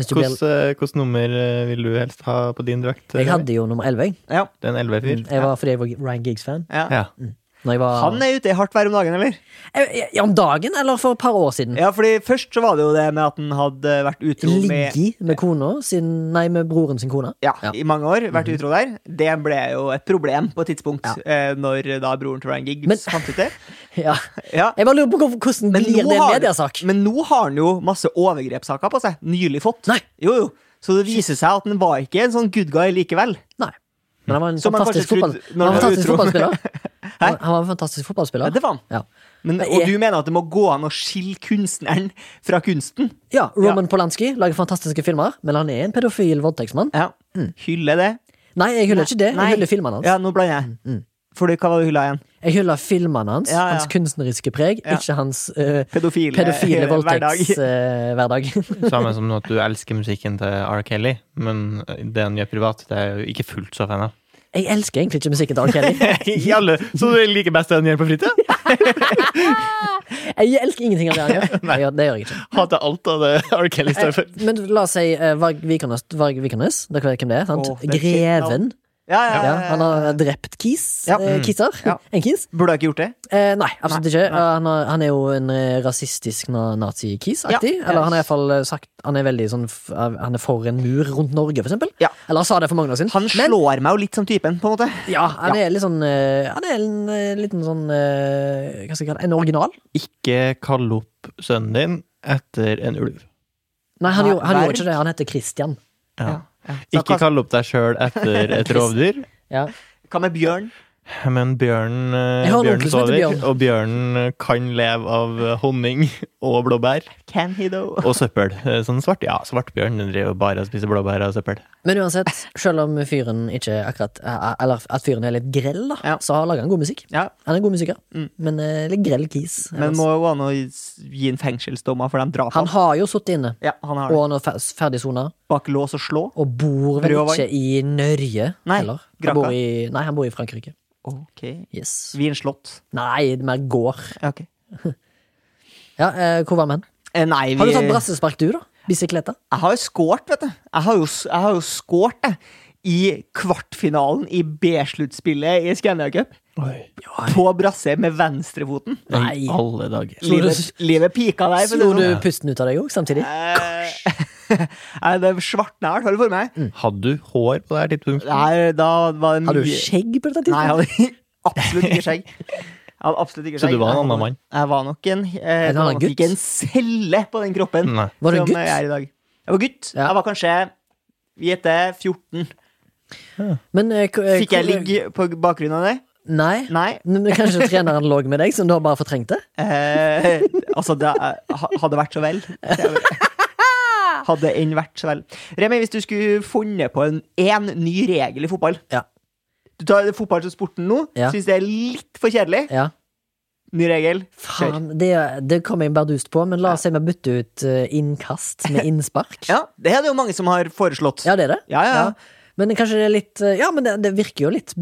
Speaker 2: Hvis du blir,
Speaker 3: Hvilket eh, hvilket nummer eh, vil du helst ha på din drakt?
Speaker 2: jeg Mm. hadde jo nummer 11, jeg.
Speaker 1: Ja.
Speaker 3: Det er en 11-fyr?
Speaker 2: Jeg var, fordi jeg var Ryan Giggs-fan.
Speaker 1: Ja.
Speaker 3: Ja.
Speaker 2: Når jeg var
Speaker 1: Han er ute i hardt vær om dagen, eller?
Speaker 2: Eh, ja, Om dagen, eller for et par år siden?
Speaker 1: Ja, fordi først så var det jo det med at han hadde vært utro med
Speaker 2: Ligge med kona sin Nei, med broren sin kone.
Speaker 1: ja,
Speaker 2: Ja.
Speaker 1: i mange år. Vært utro der. Det ble jo et problem på et tidspunkt, eh, når da broren til Ryan Giggs
Speaker 2: Men-
Speaker 1: fant ut det.
Speaker 2: Ja.
Speaker 1: Ja.
Speaker 2: Jeg bare lurer på hvor- hvordan
Speaker 1: Men
Speaker 2: blir
Speaker 1: nå
Speaker 2: det en
Speaker 1: har-
Speaker 2: mediesak?
Speaker 1: Men nå har han jo masse overgrepssaker på seg. Nylig fått.
Speaker 2: Nei.
Speaker 1: Jo, jo. Så det viser seg at han var ikke en sånn good guy likevel.
Speaker 2: Nei. Men han var en
Speaker 1: Som man
Speaker 2: fantastisk,
Speaker 1: kanskje
Speaker 2: fotball...
Speaker 1: trodde
Speaker 2: han
Speaker 1: når
Speaker 2: var en
Speaker 1: han var
Speaker 2: fantastisk
Speaker 1: utro.
Speaker 2: fotballspiller.
Speaker 1: Hæ?
Speaker 2: Han han var en fantastisk fotballspiller.
Speaker 1: Ja, det var han.
Speaker 2: Ja.
Speaker 1: Men,
Speaker 2: Men
Speaker 1: og
Speaker 2: jeg-
Speaker 1: du mener at det må gå an å skille kunstneren fra kunsten?
Speaker 2: Ja, Roman Polanski lager fantastiske filmer, men han er en pedofil voldtektsmann.
Speaker 1: Ja. Mm. Hylle det.
Speaker 2: Nei, jeg hyller ikke det.
Speaker 1: Nei.
Speaker 2: Jeg hyller Mm. filmene hans. Mm.
Speaker 1: Ja, nå blander jeg. Fordi, hva var det du hylla igjen?
Speaker 2: Jeg hyller filmene hans,
Speaker 1: Ja, ja.
Speaker 2: hans kunstneriske preg,
Speaker 1: Ja.
Speaker 2: ikke hans eh,
Speaker 1: Pedofile,
Speaker 2: pedofile eh,
Speaker 1: hverdag.
Speaker 2: voldtektshverdag.
Speaker 3: Samme som at du elsker musikken til R. Kelly, men eh, det han gjør privat, det er jeg jo ikke fullt så fan av.
Speaker 2: jeg elsker egentlig ikke musikken til R. Kelly.
Speaker 3: Eh, så du liker best det han gjør på fritida?
Speaker 2: Jeg elsker ingenting av det han gjør. Jeg gjør- Det gjør jeg ikke.
Speaker 3: Hater alt av det R. Kelly står for.
Speaker 2: Eh, Men la oss si eh, Varg Vikernes, Varg Vikernes. Dere vet hvem det er? sant?
Speaker 1: Åh, det er
Speaker 2: Greven.
Speaker 1: Ja, ja,
Speaker 2: Ja,
Speaker 1: ja,
Speaker 2: han har drept kis.
Speaker 1: Ja.
Speaker 2: Eh, kisser.
Speaker 1: Ja.
Speaker 2: En kis.
Speaker 1: Burde jeg ikke gjort det?
Speaker 2: Eh, nei, absolutt
Speaker 1: Nei,
Speaker 2: ikke.
Speaker 1: nei.
Speaker 2: Eh, Han, har, han er jo en eh, rasistisk na- nazi-kis-aktig.
Speaker 1: Ja.
Speaker 2: Eller han er i hvert fall eh, sagt Han er veldig sånn f- Han er for en mur rundt Norge, for eksempel.
Speaker 1: Ja.
Speaker 2: Eller han sa det for mange år siden.
Speaker 1: Han
Speaker 2: Men
Speaker 1: slår meg jo litt som typen, på en måte.
Speaker 2: ja, han er litt sånn eh, Han er en eh, liten sånn eh, Hva skal jeg kalle det? En original.
Speaker 3: Ikke kall opp sønnen din etter en ulv.
Speaker 2: Nei, han,
Speaker 1: Nei,
Speaker 2: gjorde, han
Speaker 1: Berg.
Speaker 2: gjorde ikke det. Han heter Christian.
Speaker 3: Ja.
Speaker 1: Så
Speaker 3: Ikke
Speaker 1: hva-
Speaker 3: kall opp deg sjøl etter et rovdyr,
Speaker 2: Ja.
Speaker 1: Hva med bjørn?
Speaker 3: men bjørnen, eh,
Speaker 2: Jeg har en
Speaker 3: bjørnen
Speaker 2: onkel som heter
Speaker 3: sover,
Speaker 2: Bjørn.
Speaker 3: og bjørnen eh, kan leve av eh, honning og blåbær
Speaker 1: Can he though?
Speaker 3: og søppel. Eh, Sånn svart, ja, svartbjørn den driver jo bare og spiser blåbær og søppel.
Speaker 2: Men uansett, selv om fyren ikke akkurat eh, Eller at fyren er litt grell, da,
Speaker 1: Ja.
Speaker 2: så lager han god musikk.
Speaker 1: Ja,
Speaker 2: Han er en god musiker, men eh, litt grell kis.
Speaker 1: men
Speaker 2: ellers.
Speaker 1: må jo gå an å gi en fengselsdommer for de drapene.
Speaker 2: Han har jo sittet inne,
Speaker 1: Ja, han har
Speaker 2: og
Speaker 1: det.
Speaker 2: han er fer- ferdig sona,
Speaker 1: Bak lås og slå.
Speaker 2: og bor vel
Speaker 1: Brød og vann.
Speaker 2: ikke i Norge
Speaker 1: Nei,
Speaker 2: heller. Han
Speaker 1: Granca.
Speaker 2: bor i, nei, han bor i Frankrike.
Speaker 1: Ok.
Speaker 2: Yes.
Speaker 1: Vinslott.
Speaker 2: Nei, det er mer gård.
Speaker 1: Ja, ok.
Speaker 2: Ja, eh, hvor var vi hen?
Speaker 1: Eh, nei, vi
Speaker 2: Har du tatt brassespark, du, da? Bisikleta?
Speaker 1: Jeg har jo skåret, vet du. Jeg har jo, jeg har jo skåret, jeg. I kvartfinalen i B-sluttspillet i Scandia Cup. På brasse med venstrefoten.
Speaker 2: Nei.
Speaker 3: Alle dager.
Speaker 2: Slo du-
Speaker 1: Livet, livet pika der. for å si det
Speaker 2: Slo du
Speaker 1: sånn.
Speaker 2: pusten ut av deg òg samtidig?
Speaker 1: Eh, Nei, det svartna i hvert fall for meg.
Speaker 3: Mm. Hadde du hår på det her tidspunktet?
Speaker 1: Nei, da var det mye
Speaker 2: Hadde Mm. du skjegg på dette
Speaker 1: Nei, jeg
Speaker 2: tidspunktet?
Speaker 1: hadde absolutt ikke skjegg. Jeg hadde absolutt ikke
Speaker 3: Så
Speaker 1: skjegg.
Speaker 3: du var en annen mann?
Speaker 1: Jeg var nok en,
Speaker 2: En
Speaker 1: eh, det var
Speaker 2: annen
Speaker 1: nok
Speaker 2: gutt?
Speaker 1: Ikke en celle på den kroppen
Speaker 3: Nei.
Speaker 2: Var du
Speaker 1: som
Speaker 2: gutt?
Speaker 1: jeg er i dag. Jeg var gutt.
Speaker 2: Ja.
Speaker 1: Jeg var kanskje Gjette 14.
Speaker 2: Men eh, k- eh,
Speaker 1: Fikk jeg
Speaker 2: hvor-
Speaker 1: ligge på bakgrunn av det?
Speaker 2: Nei.
Speaker 1: Nei.
Speaker 2: Men kanskje treneren lå med deg, som du har bare fortrengt det?
Speaker 1: Eh, altså, det eh, ha- hadde vært så vel. Hadde enn vært så vel. Remi, hvis du skulle funnet på en, en ny regel i fotball
Speaker 2: Ja.
Speaker 1: Du tar fotball som sporten nå,
Speaker 2: Ja.
Speaker 1: syns det er litt for kjedelig.
Speaker 2: Ja.
Speaker 1: Ny regel. Kjør.
Speaker 2: Faen, det, det kom jeg bardust på, men la oss si vi bytter ut eh, innkast med innspark.
Speaker 1: Ja, det er det jo mange som har foreslått.
Speaker 2: Ja, det er det.
Speaker 1: Ja, ja.
Speaker 2: Men kanskje det er litt eh, Ja, men det, det virker jo litt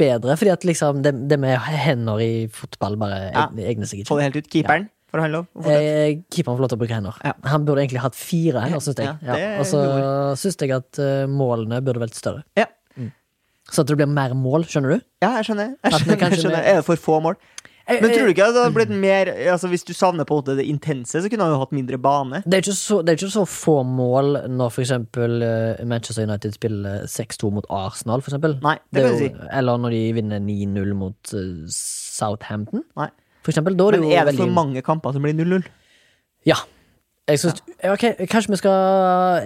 Speaker 2: bedre, fordi at liksom det, det med hender i fotball bare
Speaker 1: Ja.
Speaker 2: eg- egner seg ikke.
Speaker 1: Få det helt ut. Keeperen, får han lov? å fortsette?
Speaker 2: Eh, Keeperen får lov til å bruke hender.
Speaker 1: Ja.
Speaker 2: Han burde egentlig hatt fire hender, syns jeg.
Speaker 1: Ja, det
Speaker 2: Ja.
Speaker 1: er
Speaker 2: Og så
Speaker 1: humor.
Speaker 2: syns jeg at eh, målene burde vært større.
Speaker 1: Ja.
Speaker 2: Sånn at det blir mer mål, skjønner du?
Speaker 1: ja, jeg skjønner. Jeg
Speaker 2: At vi
Speaker 1: skjønner,
Speaker 2: kanskje
Speaker 1: jeg skjønner.
Speaker 2: med-
Speaker 1: Er det for få mål?
Speaker 2: Eh,
Speaker 1: Men tror
Speaker 2: eh,
Speaker 1: du ikke at det hadde blitt mer altså Hvis du savner på en måte det intense, så kunne han jo hatt mindre bane.
Speaker 2: det er, ikke så, det er ikke så få mål når for eksempel eh, Manchester United spiller 6-2 mot Arsenal, for eksempel.
Speaker 1: Nei, det
Speaker 2: Det er
Speaker 1: kan du
Speaker 2: jo, eller når de vinner 9-0 mot eh, Southampton,
Speaker 1: Nei.
Speaker 2: for eksempel. Da er det
Speaker 1: Men
Speaker 2: jo
Speaker 1: er det
Speaker 2: veldig
Speaker 1: for mange kamper som blir 0-0?
Speaker 2: Ja. Jeg syns Ok, kanskje vi skal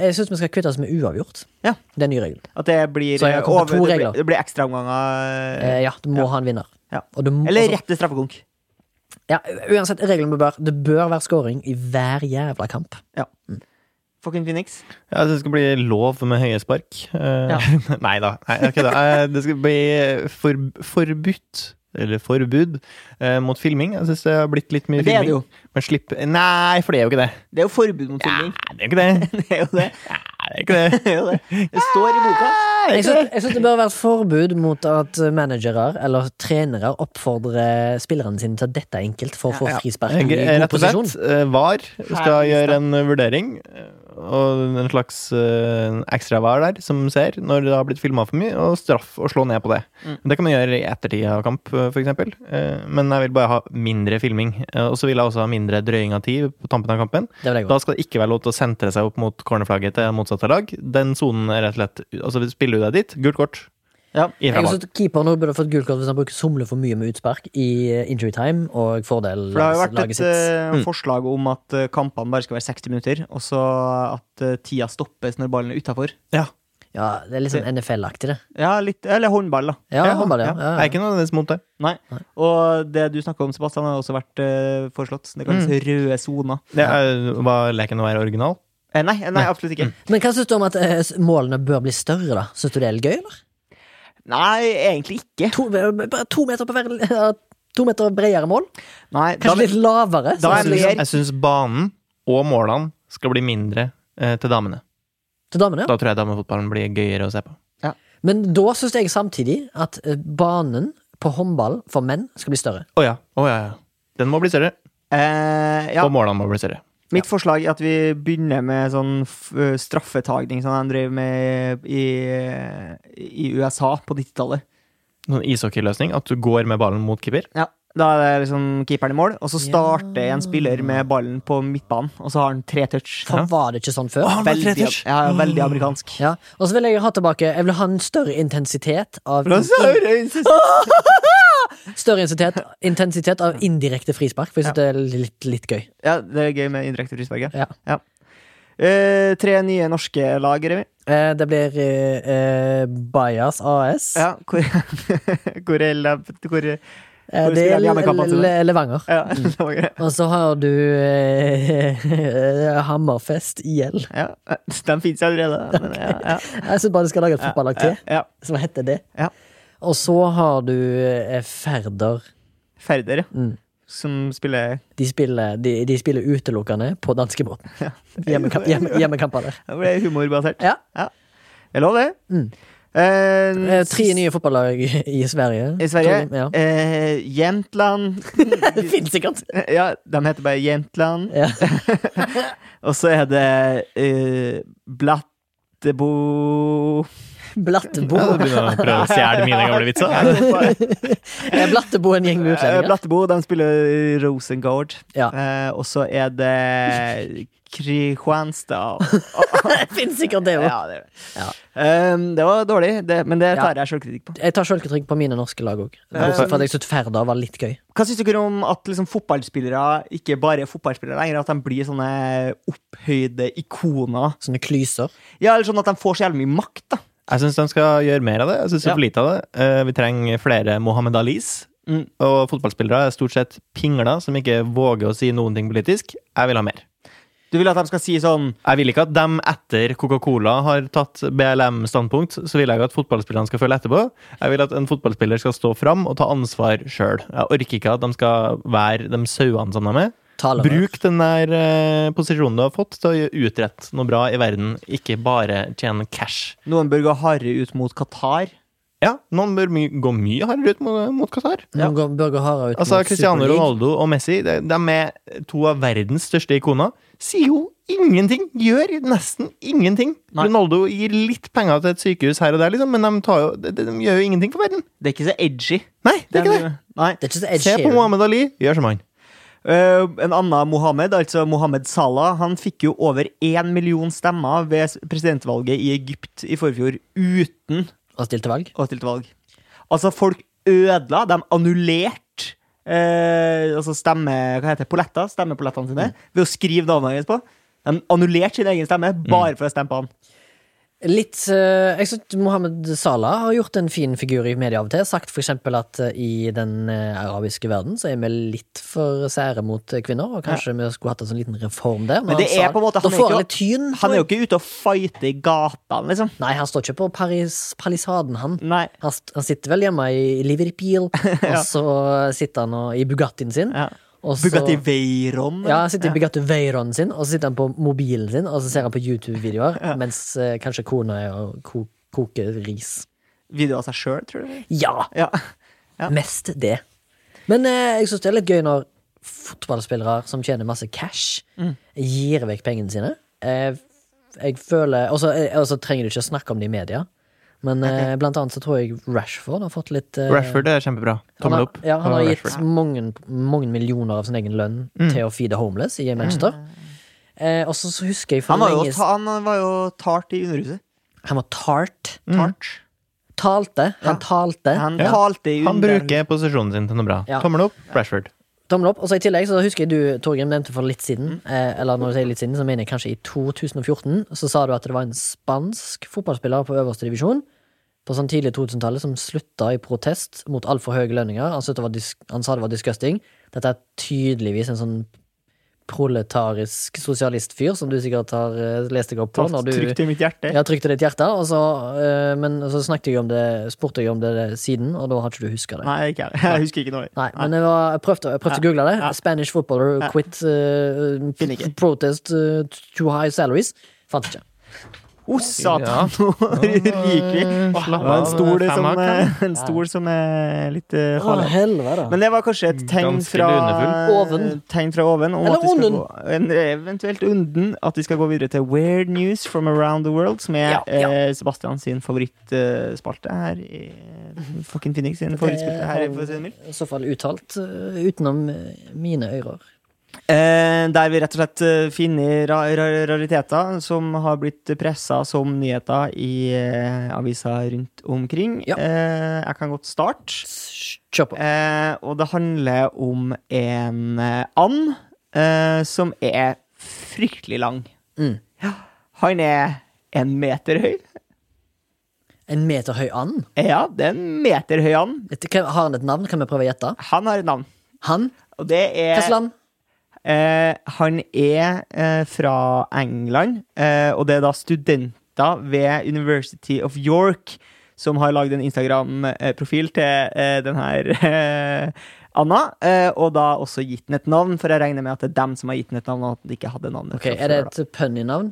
Speaker 2: Jeg syns vi skal kvitte oss med uavgjort.
Speaker 1: Ja.
Speaker 2: Det er en ny regel.
Speaker 1: At det blir eh,
Speaker 2: Så jeg har kommet med to
Speaker 1: over- det
Speaker 2: regler.
Speaker 1: blir- Det blir ekstraomganger.
Speaker 2: Eh, ja, du må ha en vinner.
Speaker 1: Ja.
Speaker 2: Og du må,
Speaker 1: Eller
Speaker 2: altså-
Speaker 1: rett til straffekonk.
Speaker 2: ja, uansett, regelen bør være- Det bør være scoring i hver jævla kamp.
Speaker 1: Fucking Phoenix.
Speaker 3: Ja, det skal bli lov med høye spark. Eh,
Speaker 1: Ja.
Speaker 3: nei da. Nei, jeg kødder. Eh, det skal bli for, forbudt. Eller forbud eh, mot filming. Jeg syns det har blitt litt mye
Speaker 1: Men det er det jo.
Speaker 3: filming. Men slipp Nei, for det er jo ikke det.
Speaker 1: Det er jo forbud mot filming.
Speaker 3: Nei, det er jo ikke det.
Speaker 1: Det er jo det.
Speaker 3: Nei, det er ikke det.
Speaker 1: Det, er jo det. det står i boka.
Speaker 3: Nei,
Speaker 2: Jeg
Speaker 1: Eh.
Speaker 3: det er ikke det.
Speaker 2: syns jeg syns det bør være et forbud mot at managere eller trenere oppfordrer spillerne sine til å dette enkelt for å få
Speaker 1: Ja, ja.
Speaker 2: frispark i god
Speaker 3: Rett og
Speaker 2: posisjon.
Speaker 3: slett. eh, VAR skal
Speaker 1: Herlig,
Speaker 3: gjøre
Speaker 1: da.
Speaker 3: en vurdering, eh, og en slags eh, ekstra VAR der, som ser når det har blitt filma for mye, og straff og slå ned på det. Det kan man gjøre i ettertid av kamp, eh, f.eks. Men jeg vil bare ha mindre filming. Eh, Og så vil jeg også ha mindre drøying av tid på tampen av kampen.
Speaker 2: Det vil jeg
Speaker 3: Da
Speaker 2: også.
Speaker 3: skal det ikke være lov til å sentre seg opp mot cornerflagget til motsatte lag. Den sonen er rett og slett Altså, spiller du deg dit, gult kort.
Speaker 1: Ja.
Speaker 3: Ifra
Speaker 2: Jeg
Speaker 3: ball.
Speaker 2: syns keeperen også burde fått gult kort hvis han bruker somler for mye med utspark i eh, injury time og fordel
Speaker 1: For det har jo vært
Speaker 2: laget
Speaker 1: et
Speaker 2: sitt. Mm.
Speaker 1: eh, forslag om at eh, kampene bare skal være 60 minutter, og så at eh, tida stoppes når ballen er utafor.
Speaker 2: Ja, det er litt sånn NFL-aktig, det.
Speaker 1: Ja, litt Eller håndball, da.
Speaker 2: Ja, håndball, ja. ja,
Speaker 3: Jeg er ikke nødvendigvis mot det.
Speaker 1: Nei. Og det du snakker om, Sebastian, har også vært eh, foreslått. Det kalles
Speaker 2: Mm.
Speaker 1: røde soner.
Speaker 3: det er, var leken å være original?
Speaker 1: Eh, nei, nei, absolutt ikke.
Speaker 2: Men hva syns du om at eh, s- målene bør bli større, da? Syns du det er litt gøy, eller?
Speaker 1: Nei, egentlig ikke.
Speaker 2: To, eh, bare to meter på hver ja, To meter bredere mål?
Speaker 1: Nei, da,
Speaker 2: Kanskje litt lavere?
Speaker 1: da
Speaker 2: sånn
Speaker 1: er
Speaker 2: som
Speaker 1: det
Speaker 2: liksom,
Speaker 1: mer-
Speaker 3: Jeg syns banen og målene skal bli mindre eh, til damene.
Speaker 2: til damene, ja.
Speaker 3: Da tror jeg damefotballen blir gøyere å se på.
Speaker 2: Men da syns jeg samtidig at eh, banen på håndball for menn skal bli større.
Speaker 3: Å ja. å ja, ja. Den må bli større.
Speaker 1: eh, ja.
Speaker 3: Og målene må bli større.
Speaker 1: Mitt forslag er at vi begynner med sånn f ø, straffetagning som de drev med i, i USA på 90-tallet.
Speaker 3: Sånn ishockeyløsning. At du går med ballen mot keeper.
Speaker 1: Ja. Da er det liksom keeperen i mål, og så starter
Speaker 2: Ja.
Speaker 1: en spiller med ballen på midtbanen, og så har han tre touch.
Speaker 2: For var det ikke sånn før?
Speaker 3: han var tre
Speaker 1: Veldig,
Speaker 3: touch.
Speaker 1: ja, ja, veldig amerikansk.
Speaker 2: Ja. Og så vil jeg ha tilbake Jeg vil ha en større intensitet av Større intensitet, intensitet av indirekte frispark, for jeg syns det er litt, litt gøy.
Speaker 1: Ja, det er gøy med indirekte frispark.
Speaker 2: Ja.
Speaker 1: Eh, tre nye norske lag, Remi.
Speaker 2: Eh, det blir eh, eh, Bajas AS.
Speaker 1: Ja, hvor, hvor er lab- hvor,
Speaker 2: Eh,
Speaker 1: Hvor
Speaker 2: det
Speaker 1: spiller
Speaker 2: er
Speaker 1: de hjemmekampene sine?
Speaker 2: Le- Levanger.
Speaker 1: ja, lager det.
Speaker 2: Og så har du eh, Hammerfest IL.
Speaker 1: ja, De fins allerede, men ja. ja.
Speaker 2: Jeg syns bare du skal lage et fotballag til
Speaker 1: ja.
Speaker 2: som heter det.
Speaker 1: Ja.
Speaker 2: Og så har du eh, Færder.
Speaker 1: Færder, ja.
Speaker 2: Mm.
Speaker 1: Som spiller
Speaker 2: De spiller, de, de spiller utelukkende på danskebåten. Hjemmekamp, hjemme, hjemmekamper der.
Speaker 1: Det ble humorbatert.
Speaker 2: Ja.
Speaker 1: Det er lov, det.
Speaker 2: Mm.
Speaker 1: Eh,
Speaker 2: Eh, tre nye fotballag i Sverige.
Speaker 1: i Sverige.
Speaker 2: Tror de- Ja.
Speaker 1: Eh, Jämtland
Speaker 2: Det finnes sikkert.
Speaker 1: Ja, de heter bare Jämtland.
Speaker 2: Ja.
Speaker 1: Og så er det eh, Blattebo
Speaker 2: Blattebo.
Speaker 3: Ja, du begynner å prøve å stjele mine gamle vitser.
Speaker 2: Er Blattebo en gjeng med utlendinger?
Speaker 1: Eh, Blattebo de spiller Rosengard.
Speaker 2: Ja.
Speaker 1: Eh, og så er det Kristianstad.
Speaker 2: Det finnes sikkert det òg.
Speaker 1: Ja, det, er det. Um, det var dårlig, det, men det tar jeg sjølkritikk på.
Speaker 2: Jeg tar sjølkritikk på mine norske lag òg.
Speaker 1: Eh,
Speaker 2: Bortsett fra at jeg syntes Ferda var litt gøy.
Speaker 1: Hva syns dere om at liksom, fotballspillere ikke bare er fotballspillere lenger, at de blir sånne opphøyde ikoner?
Speaker 2: Sånne klyser.
Speaker 1: Ja, eller sånn at de får så jævlig mye makt, da.
Speaker 3: Jeg syns de skal gjøre mer av det. Jeg synes det er for lite av det. Eh, Vi trenger flere Mohammed Alis.
Speaker 1: Mm.
Speaker 3: Og fotballspillere er stort sett pingler som ikke våger å si noen ting politisk. Jeg vil ha mer.
Speaker 1: Du vil at de skal si sånn
Speaker 3: Jeg vil ikke at dem etter Coca-Cola har tatt BLM-standpunkt, så vil jeg ikke at fotballspillerne skal følge etterpå. Jeg vil at en fotballspiller skal stå fram og ta ansvar sjøl. Jeg orker ikke at de skal være de sauene som de er.
Speaker 2: Taler.
Speaker 3: Bruk den der eh, posisjonen du har fått til å gjø- utrette noe bra i verden, ikke bare tjene cash.
Speaker 1: Noen bør gå hardere ut mot Qatar.
Speaker 3: Ja, noen bør my gå mye hardere ut mot, mot Qatar.
Speaker 2: Noen går Børge Hara ut
Speaker 3: Altså,
Speaker 2: mot
Speaker 3: Cristiano
Speaker 2: Super League.
Speaker 3: Ronaldo og Messi de, de er to av verdens største ikoner. Sier jo ingenting! Gjør nesten ingenting.
Speaker 1: Nei.
Speaker 3: Ronaldo gir litt penger til et sykehus her og der, liksom, men de, tar jo, de, de gjør jo ingenting for verden.
Speaker 1: Det er ikke så edgy.
Speaker 3: Nei, det er ikke det.
Speaker 1: Nei.
Speaker 2: Det er ikke så Ed
Speaker 3: Se på
Speaker 2: Sheeran.
Speaker 3: Mohammed Ali. Gjør som han.
Speaker 1: Eh, en annen Mohammed, altså Mohammed Salah, han fikk jo over én million stemmer ved s- presidentvalget i Egypt i forfjor uten
Speaker 2: Og stilte valg.
Speaker 1: å ha stilt valg. Altså, folk ødela, de annullerte eh, altså stemme... Hva heter det? Polletter? Stemmepolettene sine. Ved å skrive navnet hans på. De annullerte sin egen stemme bare for å stemme på han.
Speaker 2: Litt eh, Jeg syns Mohammed Salah har gjort en fin figur i media av og til. Sagt for eksempel at eh, i den eh, arabiske verden så er vi litt for sære mot eh, kvinner, og kanskje vi skulle hatt en sånn liten reform der.
Speaker 1: Men det
Speaker 2: han
Speaker 1: er på en måte-
Speaker 2: Da
Speaker 1: han er
Speaker 2: får
Speaker 1: ikke-
Speaker 2: han litt tyn. tror
Speaker 1: Han er jo
Speaker 2: jeg.
Speaker 1: ikke ute og fighter i gatene, liksom.
Speaker 2: Nei, han står ikke på Paris, palisaden, han.
Speaker 1: Nei.
Speaker 2: Han, st- han sitter vel hjemme i Liverpool, og så sitter han og, i Bugattien sin.
Speaker 1: Ja.
Speaker 2: og så-
Speaker 1: Bugatti Veyron.
Speaker 2: Ja, han sitter i Bugatti Veyronen sin, og så sitter han på mobilen sin, og så ser han på YouTube-videoer, mens eh, kanskje kona er og ko koker ris.
Speaker 1: Video av seg sjøl, tror du?
Speaker 2: Ja,
Speaker 1: Ja. Ja.
Speaker 2: mest det. Men eh, jeg syns det er litt gøy når fotballspillere som tjener masse cash,
Speaker 1: Mm.
Speaker 2: gir vekk pengene sine. Eh, jeg føler Og så eh, og så trenger du ikke å snakke om det i media, men eh, blant annet så tror jeg Rashford har fått litt eh,
Speaker 3: Rashford er
Speaker 2: han
Speaker 3: kjempebra.
Speaker 2: har,
Speaker 3: Tommel opp.
Speaker 2: Ja, han har
Speaker 3: Og
Speaker 2: gitt
Speaker 3: Rashford.
Speaker 2: mange, mange millioner av sin egen lønn
Speaker 3: Mm.
Speaker 2: til å feede homeless i Manchester. Eh, og så så husker jeg for
Speaker 1: Han, var jo
Speaker 2: lenge
Speaker 1: ta, han var jo tart i Underhuset.
Speaker 2: Han var tart.
Speaker 1: Tart.
Speaker 2: Talte. Han talte.
Speaker 1: Han
Speaker 3: Mm. Ja.
Speaker 1: talte i
Speaker 3: Han
Speaker 1: Underhuset.
Speaker 3: bruker posisjonen sin til noe bra.
Speaker 2: Ja.
Speaker 3: Tommel opp, Rashford.
Speaker 2: Tommel opp. Og så i tillegg så husker jeg du, Torgrim, nevnte for litt siden, eh, eller når du sier litt siden, så mener jeg kanskje i 2014, så sa du at det var en spansk fotballspiller på øverste divisjon på sånn tidlig 2000-tallet som slutta i protest mot altfor høye lønninger. Han, syntes det var dis han sa det var disgusting. Dette er tydeligvis en sånn proletarisk sosialistfyr som du sikkert har eh, lest deg opp på.
Speaker 1: Talt
Speaker 2: Når du,
Speaker 1: trygt i mitt hjerte.
Speaker 2: Jeg trykte ditt hjerte, og så, eh, men så snakket jeg om det, spurte jeg om det siden, og da har ikke du huska det.
Speaker 1: Nei, ikke jeg. Jeg husker ikke noe.
Speaker 2: Nei, men jeg, var, jeg prøvde, jeg prøvde å google det. Spanish footballer quit eh,
Speaker 1: Finner ikke.
Speaker 2: protest eh, too high salaries. Fant ikke.
Speaker 1: Å, satan! Nå ryker vi. Det
Speaker 3: Åh,
Speaker 1: var en stol
Speaker 3: det eh,
Speaker 1: som, eh,
Speaker 3: femmer, kan.
Speaker 1: en stol som er litt eh,
Speaker 2: Å,
Speaker 1: farlig.
Speaker 2: helvete.
Speaker 1: Men det var kanskje et tegn
Speaker 3: Ganske
Speaker 1: fra
Speaker 3: lunefull.
Speaker 2: Oven.
Speaker 1: Tegn fra oven om
Speaker 2: Eller
Speaker 1: at vi skal
Speaker 2: onden.
Speaker 1: gå, en, eventuelt onden. At vi skal gå videre til Weird News from around the world, som er
Speaker 2: Ja, ja.
Speaker 1: Eh, Sebastian sin favorittspalte her i Fucking Phoenix sin favorittspalte her. For å si det mildt.
Speaker 2: Eh, I så fall uttalt eh, utenom eh, mine ører.
Speaker 1: Eh, der vi rett og slett eh, finner ra ra rariteter som har blitt pressa som nyheter i eh, aviser rundt omkring.
Speaker 2: Ja.
Speaker 1: Eh, jeg kan godt starte.
Speaker 2: Kjør på.
Speaker 1: Eh, og det handler om en eh, and eh, som er fryktelig lang.
Speaker 2: Mm.
Speaker 1: Ja, Han er en meter høy.
Speaker 2: En meter høy and?
Speaker 1: Eh, Ja, det er en meter høy and.
Speaker 2: Dette, kan- har han et navn? Kan vi prøve å gjette?
Speaker 1: Han har et navn.
Speaker 2: Han?
Speaker 1: Og det er
Speaker 2: Hvilket land?
Speaker 1: Eh, han er eh, fra England, eh, og det er da studenter ved University of York som har lagd en Instagram-profil til eh, den her eh, Anna, eh, og da også gitt den et navn, for jeg regner med at det er dem som har gitt den et navn. Og at den ikke hadde navnet
Speaker 2: Ok,
Speaker 1: fra
Speaker 2: Er det
Speaker 1: før, da.
Speaker 2: et punny-navn?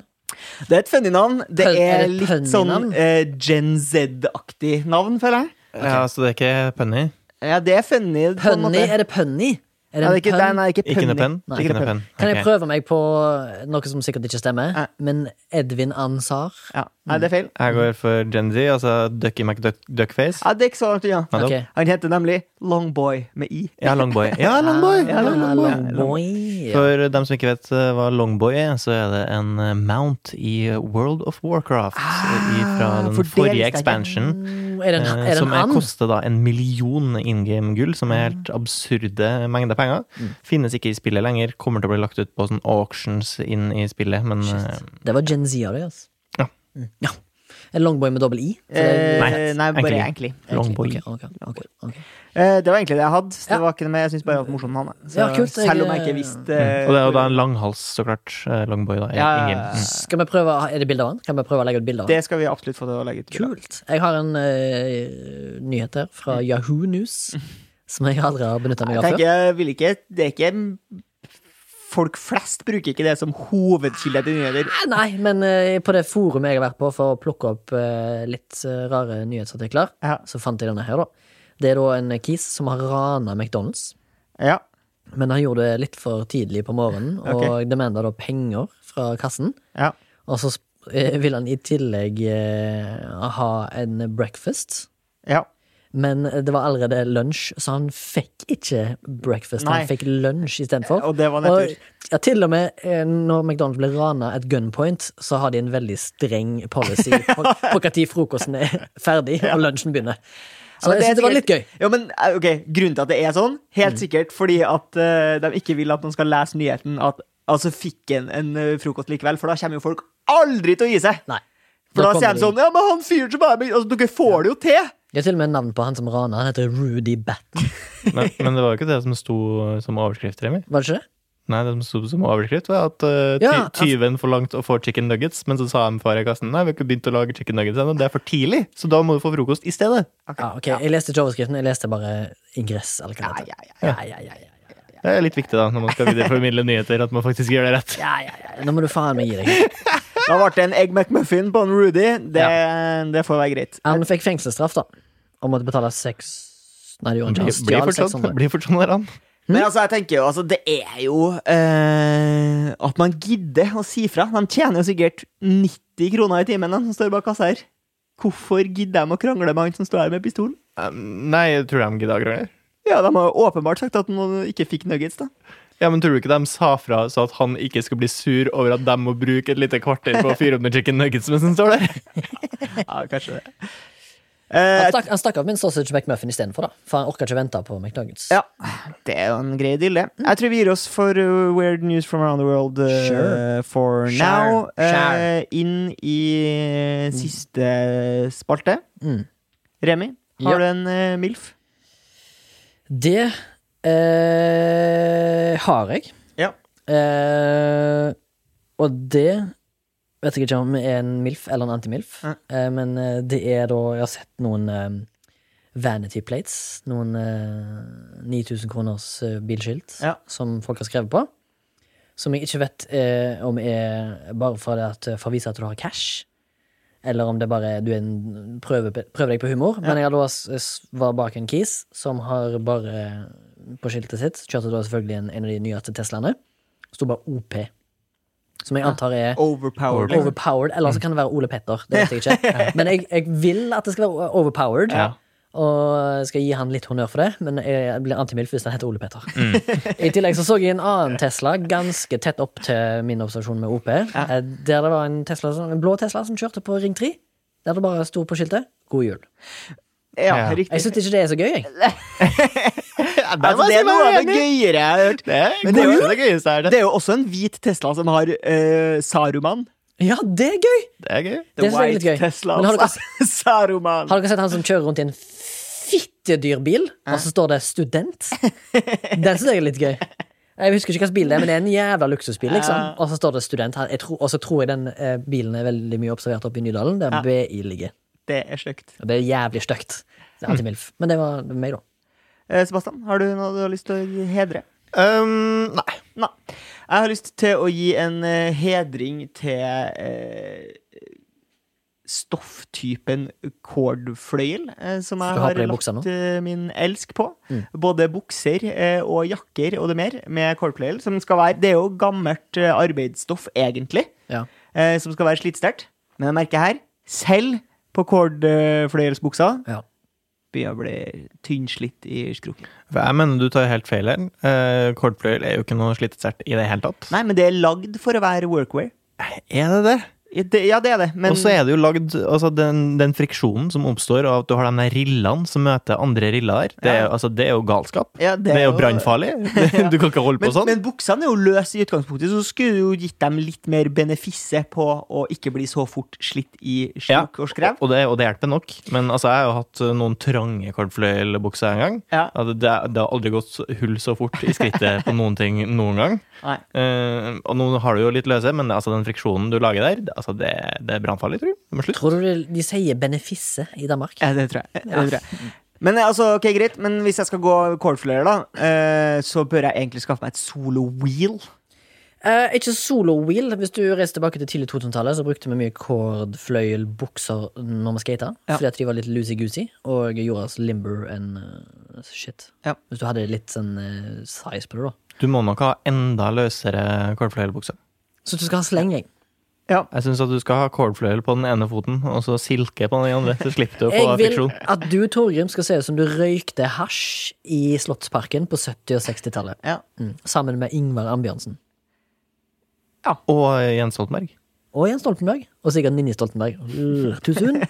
Speaker 1: det er et funny navn. Det
Speaker 2: Pønn- er
Speaker 1: er
Speaker 2: det et
Speaker 1: litt
Speaker 2: pønny
Speaker 1: sånn
Speaker 2: navn?
Speaker 1: eh, Gen Z-aktig navn, føler jeg.
Speaker 3: Ja, så altså, det er ikke punny?
Speaker 1: Ja, det er funny. på en
Speaker 2: Punny?
Speaker 1: måte.
Speaker 2: Er det punny? Er
Speaker 1: Nei, det er ikke,
Speaker 2: pønn?
Speaker 1: nei, nei, ikke
Speaker 3: Ikke
Speaker 1: pønning.
Speaker 3: nepen?
Speaker 2: Nei.
Speaker 3: Ikke nepen.
Speaker 2: Kan jeg
Speaker 3: Ok.
Speaker 2: prøve meg på noe som sikkert ikke stemmer?
Speaker 1: Ja.
Speaker 2: Men Edvin Ansar
Speaker 1: Ja. Nei, det er feil.
Speaker 3: Jeg går for Gen Z, altså Ducky McDuckface.
Speaker 1: Ja, det er ikke så langt unna.
Speaker 3: Nettopp.
Speaker 2: Ok.
Speaker 1: Han heter nemlig Longboy med i.
Speaker 3: Ja, Longboy. Ja, Longboy!
Speaker 1: Ja, Longboy.
Speaker 2: Longboy.
Speaker 3: For dem som ikke vet eh, hva Longboy er, så er det en eh, mount i World of Warcraft. eh, i- fra
Speaker 1: Ah,
Speaker 3: den forrige
Speaker 1: fordelingsdekken.
Speaker 3: expansion.
Speaker 2: Mm. Er det en,
Speaker 3: eh,
Speaker 2: er det
Speaker 3: Som
Speaker 2: en
Speaker 3: er,
Speaker 2: and?
Speaker 3: koster da en million in game-gull, som er helt absurde mengder penger.
Speaker 1: Mm.
Speaker 3: Finnes ikke i spillet lenger, kommer til å bli lagt ut på sånn auctions inn i spillet, men eh,
Speaker 2: Det var Gen Z av det, altså.
Speaker 3: Ja.
Speaker 2: Mm. ja. En Longboy med dobbel I? For det-
Speaker 1: Eh,
Speaker 3: Nei,
Speaker 1: nei, bare egentlig.
Speaker 3: egentlig. Longboy.
Speaker 2: Ok, ok, ok, ok.
Speaker 1: Eh, det var egentlig det jeg hadde. Så
Speaker 2: Ja.
Speaker 1: det var ikke noe mer. Jeg syns bare det var morsomt med han. Så,
Speaker 2: Ja, kult. Jeg-
Speaker 1: selv om jeg ikke visste eh,
Speaker 3: Mm. Og det er jo da en langhals, så klart. eh, Longboy, da. i-
Speaker 1: Ja.
Speaker 3: i game.
Speaker 2: Skal vi prøve, Er det bilde av han? Kan vi prøve å legge ut bilde av han?
Speaker 1: eh, Det skal vi absolutt få til å legge ut.
Speaker 2: Kult. Jeg har en eh, nyhet her fra
Speaker 3: Mm.
Speaker 2: Yahoo News, som jeg aldri har benytta meg
Speaker 1: Jeg
Speaker 2: av før.
Speaker 1: tenker, jeg vil ikke Det er ikke Folk flest bruker ikke det som hovedkilde til nyheter.
Speaker 2: Eh, Nei, men eh, på det forumet jeg har vært på for å plukke opp eh, litt eh, rare nyhetsartikler,
Speaker 1: Ja.
Speaker 2: så fant jeg denne her, da. Det er da en kis som har rana McDonald's.
Speaker 1: Ja.
Speaker 2: Men han gjorde det litt for tidlig på morgenen, og
Speaker 1: Ok.
Speaker 2: demanda da penger fra kassen.
Speaker 1: ja.
Speaker 2: Og så sp- eh, vil han i tillegg eh, ha en breakfast.
Speaker 1: ja.
Speaker 2: Men det var allerede lunsj, så han fikk ikke breakfast.
Speaker 1: Nei.
Speaker 2: Han fikk lunsj istedenfor.
Speaker 1: Og det var nettur.
Speaker 2: ja, til og med eh, når McDonald's ble rana at gunpoint, så har de en veldig streng policy på på hva tid frokosten er ferdig og lunsjen begynner. Så
Speaker 1: men
Speaker 2: jeg synes det var litt
Speaker 1: sikkert-
Speaker 2: gøy. Mm.
Speaker 1: Ja, men eh, ok, Grunnen til at det er sånn, helt sikkert fordi at eh, de ikke vil at noen skal lese nyheten at altså fikk en, en eh, frokost likevel, for da kommer jo folk aldri til å gi seg.
Speaker 2: Nei.
Speaker 1: For da
Speaker 2: kommer
Speaker 1: sier de
Speaker 2: de-
Speaker 1: sånn Ja, men han fyren som er med altså, Dere får det jo til!
Speaker 2: Det er til og med navn på han som rana. Han heter Rudy Batten.
Speaker 3: Men, men det var jo ikke det som sto som overskrift, Remi.
Speaker 2: Var det ikke det?
Speaker 3: Nei, det som sto som overskrift, var at eh, ty
Speaker 2: Ja, at-
Speaker 1: altså-
Speaker 3: tyven forlangte å få chicken nuggets, men så sa han far i kassen nei, vi har ikke begynt å lage chicken nuggets ennå, det er for tidlig, så da må du få frokost i stedet.
Speaker 2: Ja, Ah, ok, Jeg leste ikke overskriften, jeg leste bare ingress. Eller hva det
Speaker 1: Ja,
Speaker 2: heter. Ja, ja, ja, ja, ja.
Speaker 3: Det er litt viktig da, når man skal videreformidle nyheter, at man faktisk gjør det rett.
Speaker 2: Ja, ja, ja. Nå må du faen meg gi deg.
Speaker 1: Da ble det en egg McMuffin på en Rudy. Det, det får være greit.
Speaker 2: Han fikk fengselsstraff, da. Og måtte betale seks Nei, det gjorde han ikke. Han
Speaker 3: Bli
Speaker 2: stjal
Speaker 3: fortsatt,
Speaker 2: 600.
Speaker 3: bli fortsatt sånn der han.
Speaker 1: Men altså, jeg tenker jo, altså, det er jo eh, At man gidder å si fra. De tjener jo sikkert 90 kroner i timen, de som står bak kassa her. Hvorfor gidder de å krangle med han som står her med pistolen?
Speaker 3: Um, Nei, jeg tror de gidder å krangle.
Speaker 1: Ja, de har jo åpenbart sagt at han ikke fikk nuggets, da.
Speaker 3: Ja, men tror du ikke de sa fra så at han ikke skal bli sur over at de må bruke et lite kvarter på å fyre opp noen chicken nuggets mens han står der?
Speaker 1: Ja, kanskje det.
Speaker 2: Han
Speaker 1: Eh,
Speaker 2: stakk, han stakk av med en sausage McMuffin istedenfor, da. For han orka ikke vente på McNuggets.
Speaker 1: ja, det er jo en grei deal, det.
Speaker 2: Mm.
Speaker 1: Jeg tror vi gir oss for uh, Weird News from Around the World eh,
Speaker 2: Sure.
Speaker 1: for
Speaker 2: Sure.
Speaker 1: now. Eh,
Speaker 2: Sure.
Speaker 1: inn i uh, siste spalte.
Speaker 2: Mm.
Speaker 1: Remi,
Speaker 2: Ja.
Speaker 1: har du en eh, MILF?
Speaker 2: Det eh, har jeg.
Speaker 1: Ja.
Speaker 2: Eh, og det vet jeg ikke om er en MILF eller en antimilf,
Speaker 1: Ja.
Speaker 2: eh, men eh, det er da Jeg har sett noen eh, vanity plates, noen eh, 9000 kroners eh, bilskilt,
Speaker 1: Ja.
Speaker 2: som folk har skrevet på. Som jeg ikke vet eh, om er bare for, det at, eh, for å vise at du har cash, eller om det bare er du er en prøver prøver deg på humor. Men jeg har da s- s- var bak en kis som har bare eh, på skiltet sitt Kjørte da selvfølgelig en, en av de nyeste Teslaene. Sto bare OP. Som jeg antar er
Speaker 1: Overpowered. liksom.
Speaker 2: overpowered. Eller så kan det være Ole Petter. Det vet jeg ikke. Men jeg, jeg vil at det skal være overpowered.
Speaker 3: Ja.
Speaker 2: Og jeg skal gi han litt honnør for det, men jeg blir antimilf hvis han heter Ole Petter. I tillegg så så jeg en annen Tesla ganske tett opp til min observasjon med OP. eh, Der det var en, Tesla, som- en blå Tesla som kjørte på Ring 3. Der det bare sto på skiltet 'God jul'.
Speaker 1: Ja,
Speaker 3: Ja.
Speaker 1: riktig.
Speaker 2: Jeg syns ikke det er så gøy, jeg.
Speaker 1: altså, det er noe av det
Speaker 3: gøy.
Speaker 1: gøyere jeg har hørt.
Speaker 3: Det er,
Speaker 1: Men det er jo-
Speaker 3: det gøyeste her.
Speaker 1: Det er jo også en hvit Tesla som har eh, Saruman.
Speaker 2: Ja, det er gøy!
Speaker 3: Det er gøy.
Speaker 2: Det synes jeg er litt gøy.
Speaker 1: Tesla.
Speaker 2: Men
Speaker 1: altså.
Speaker 2: har dere-
Speaker 1: Saruman.
Speaker 2: Har dere sett han som kjører rundt i en fittedyr bil, og så står det 'student'? Den syns jeg er litt gøy. Jeg husker ikke hvilken bil det er, men det er en jævla luksusbil. liksom Og så står det 'student' her. Jeg tror- Og så tror jeg den eh, bilen er veldig mye observert oppe i Nydalen, der BI ligger.
Speaker 1: Det er stygt.
Speaker 2: Og det er jævlig stygt. Det er alltid milf. Men det var meg, da.
Speaker 1: Eh, Sebastian, har du noe du har lyst til å hedre?
Speaker 3: Um, nei.
Speaker 1: Nei. Jeg har lyst til å gi en eh, hedring til eh, stofftypen cordfløyel, eh,
Speaker 2: Skal
Speaker 1: som
Speaker 2: du
Speaker 1: jeg
Speaker 2: ha
Speaker 1: har
Speaker 2: på deg
Speaker 1: lagt
Speaker 2: buksa nå?
Speaker 1: eh, min elsk på.
Speaker 2: Mm.
Speaker 1: Både bukser eh, og jakker og det mer, med cordfløyel, som skal være Det er jo gammelt eh, arbeidsstoff, egentlig,
Speaker 2: Ja.
Speaker 1: eh, som skal være slitsterkt. Men jeg merker her, selv på cordfløyelsbuksa,
Speaker 2: Ja.
Speaker 1: begynner jeg å bli tynnslitt i skroken.
Speaker 3: For jeg mener du tar helt feil her. Eh, Kordfløyel er jo ikke noe slitesert i det hele tatt.
Speaker 1: Nei, men det er lagd for å være workwear.
Speaker 3: Er det det?
Speaker 1: Ja, det, ja, det er det, men
Speaker 3: Og så er det jo lagd altså den, den friksjonen som oppstår av at du har de der rillene som møter andre riller her. Det, er-
Speaker 1: Ja.
Speaker 3: altså, det er jo galskap.
Speaker 1: Ja,
Speaker 3: det, er jo brannfarlig.
Speaker 1: Ja.
Speaker 3: Du kan ikke holde på
Speaker 1: Men,
Speaker 3: sånn.
Speaker 1: men buksene er jo løse i utgangspunktet, så skulle du jo gitt dem litt mer benefisse på å ikke bli så fort slitt i
Speaker 3: Ja,
Speaker 1: sluk og skrev.
Speaker 3: Og, det, og det hjelper nok. Men altså, jeg har jo hatt eh, noen trange kordfløyelbukser en gang.
Speaker 1: Ja.
Speaker 3: Ja, det, det har aldri gått så- hull så fort i skrittet på noen ting noen gang.
Speaker 1: Nei.
Speaker 3: Eh, og nå har du jo litt løse, men altså, den friksjonen du lager der, det, altså, det, det er brannfarlig, tror jeg. Du må slutte.
Speaker 2: Tror du de- de sier benefisse i Danmark?
Speaker 1: Ja, det tror jeg. Det tror jeg. Men eh, altså, ok, greit, men hvis jeg skal gå cordfløyer, da, eh, så bør jeg egentlig skaffe meg et solo-wheel.
Speaker 2: Eh, ikke solo-wheel. Hvis du reiser tilbake til tidlig 2000-tallet, så brukte vi mye kordfløyelbukser når vi skata.
Speaker 1: Ja.
Speaker 2: Fordi at de var litt loosey-goosey og gjorde oss limber and eh, shit.
Speaker 1: Ja.
Speaker 2: Hvis du hadde litt sånn eh, size på det, da.
Speaker 3: Du må nok ha enda løsere kordfløyelbukse.
Speaker 2: Så du skal ha sleng, jeg.
Speaker 3: Jeg syns at du skal ha kålfløyel på den ene foten og så silke på den andre. Så slipper du å få
Speaker 2: Jeg vil
Speaker 3: friksjon.
Speaker 2: at du, Torgrim, skal se ut som du røykte hasj i Slottsparken på 70- og 60-tallet.
Speaker 1: Ja.
Speaker 2: Mm. Sammen med Ingvar Ambjørnsen.
Speaker 3: Og Jens Stoltenberg.
Speaker 2: Og Jens Stoltenberg. Og sikkert Ninni Stoltenberg. Uh, too soon?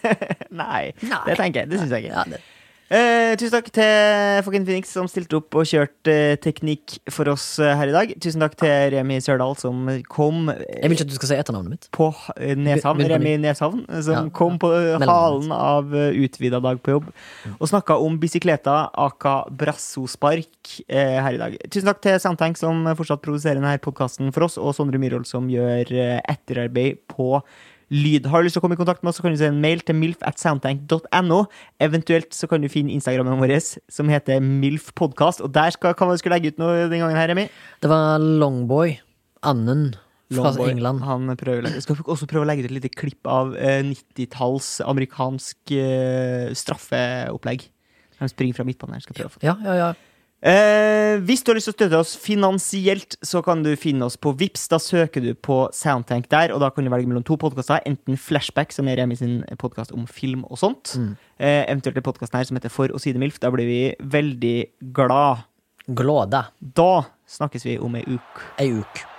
Speaker 1: Nei,
Speaker 2: Nei.
Speaker 1: det tenker jeg. Det syns jeg ikke.
Speaker 2: Ja, det.
Speaker 1: Eh, tusen takk til Fucking Phoenix som stilte opp og kjørte eh, teknikk for oss eh, her i dag. Tusen takk til Remi Sørdal som kom eh,
Speaker 2: Jeg vil ikke at du skal si etternavnet mitt.
Speaker 1: på ha- eh, Neshavn,
Speaker 2: Begynn på
Speaker 1: Remi Neshavn, eh, som
Speaker 2: Ja.
Speaker 1: kom på eh,
Speaker 2: Mellomnavn.
Speaker 1: halen av eh, utvida dag på jobb, og snakka om bisikleta aka brassospark eh, her i dag. Tusen takk til Soundtank, som eh, fortsatt produserer denne podkasten for oss, og Sondre Myhrvold, som gjør eh, etterarbeid på Lyd. Har du lyst til å komme i kontakt med oss, så kan du sende en mail til milf at soundtank.no. Eventuelt så kan du finne Instagrammen vår som heter milfpodkast, og der skal, kan vi skulle legge ut noe den gangen her, Remi.
Speaker 2: Det var Longboy. Anden fra
Speaker 1: Longboy,
Speaker 2: England.
Speaker 1: Han prøver, å legge- skal også prøve å legge ut et lite klipp av eh, 90-talls amerikansk eh, straffeopplegg. De springer fra midtbanen her. skal prøve å få
Speaker 2: Ja, ja, ja.
Speaker 1: Eh, hvis du har lyst til å støtte oss finansielt, så kan du finne oss på Vips. Da søker du på Soundtank der, og da kan du velge mellom to podkaster. Enten Flashback, som er Remi sin podkast om film og sånt.
Speaker 2: Mm.
Speaker 1: Eh, eventuelt den podkasten her som heter For og side MILF. Da blir vi veldig glad.
Speaker 2: Glåda.
Speaker 1: Da snakkes vi om ei uke.
Speaker 2: Ei uke.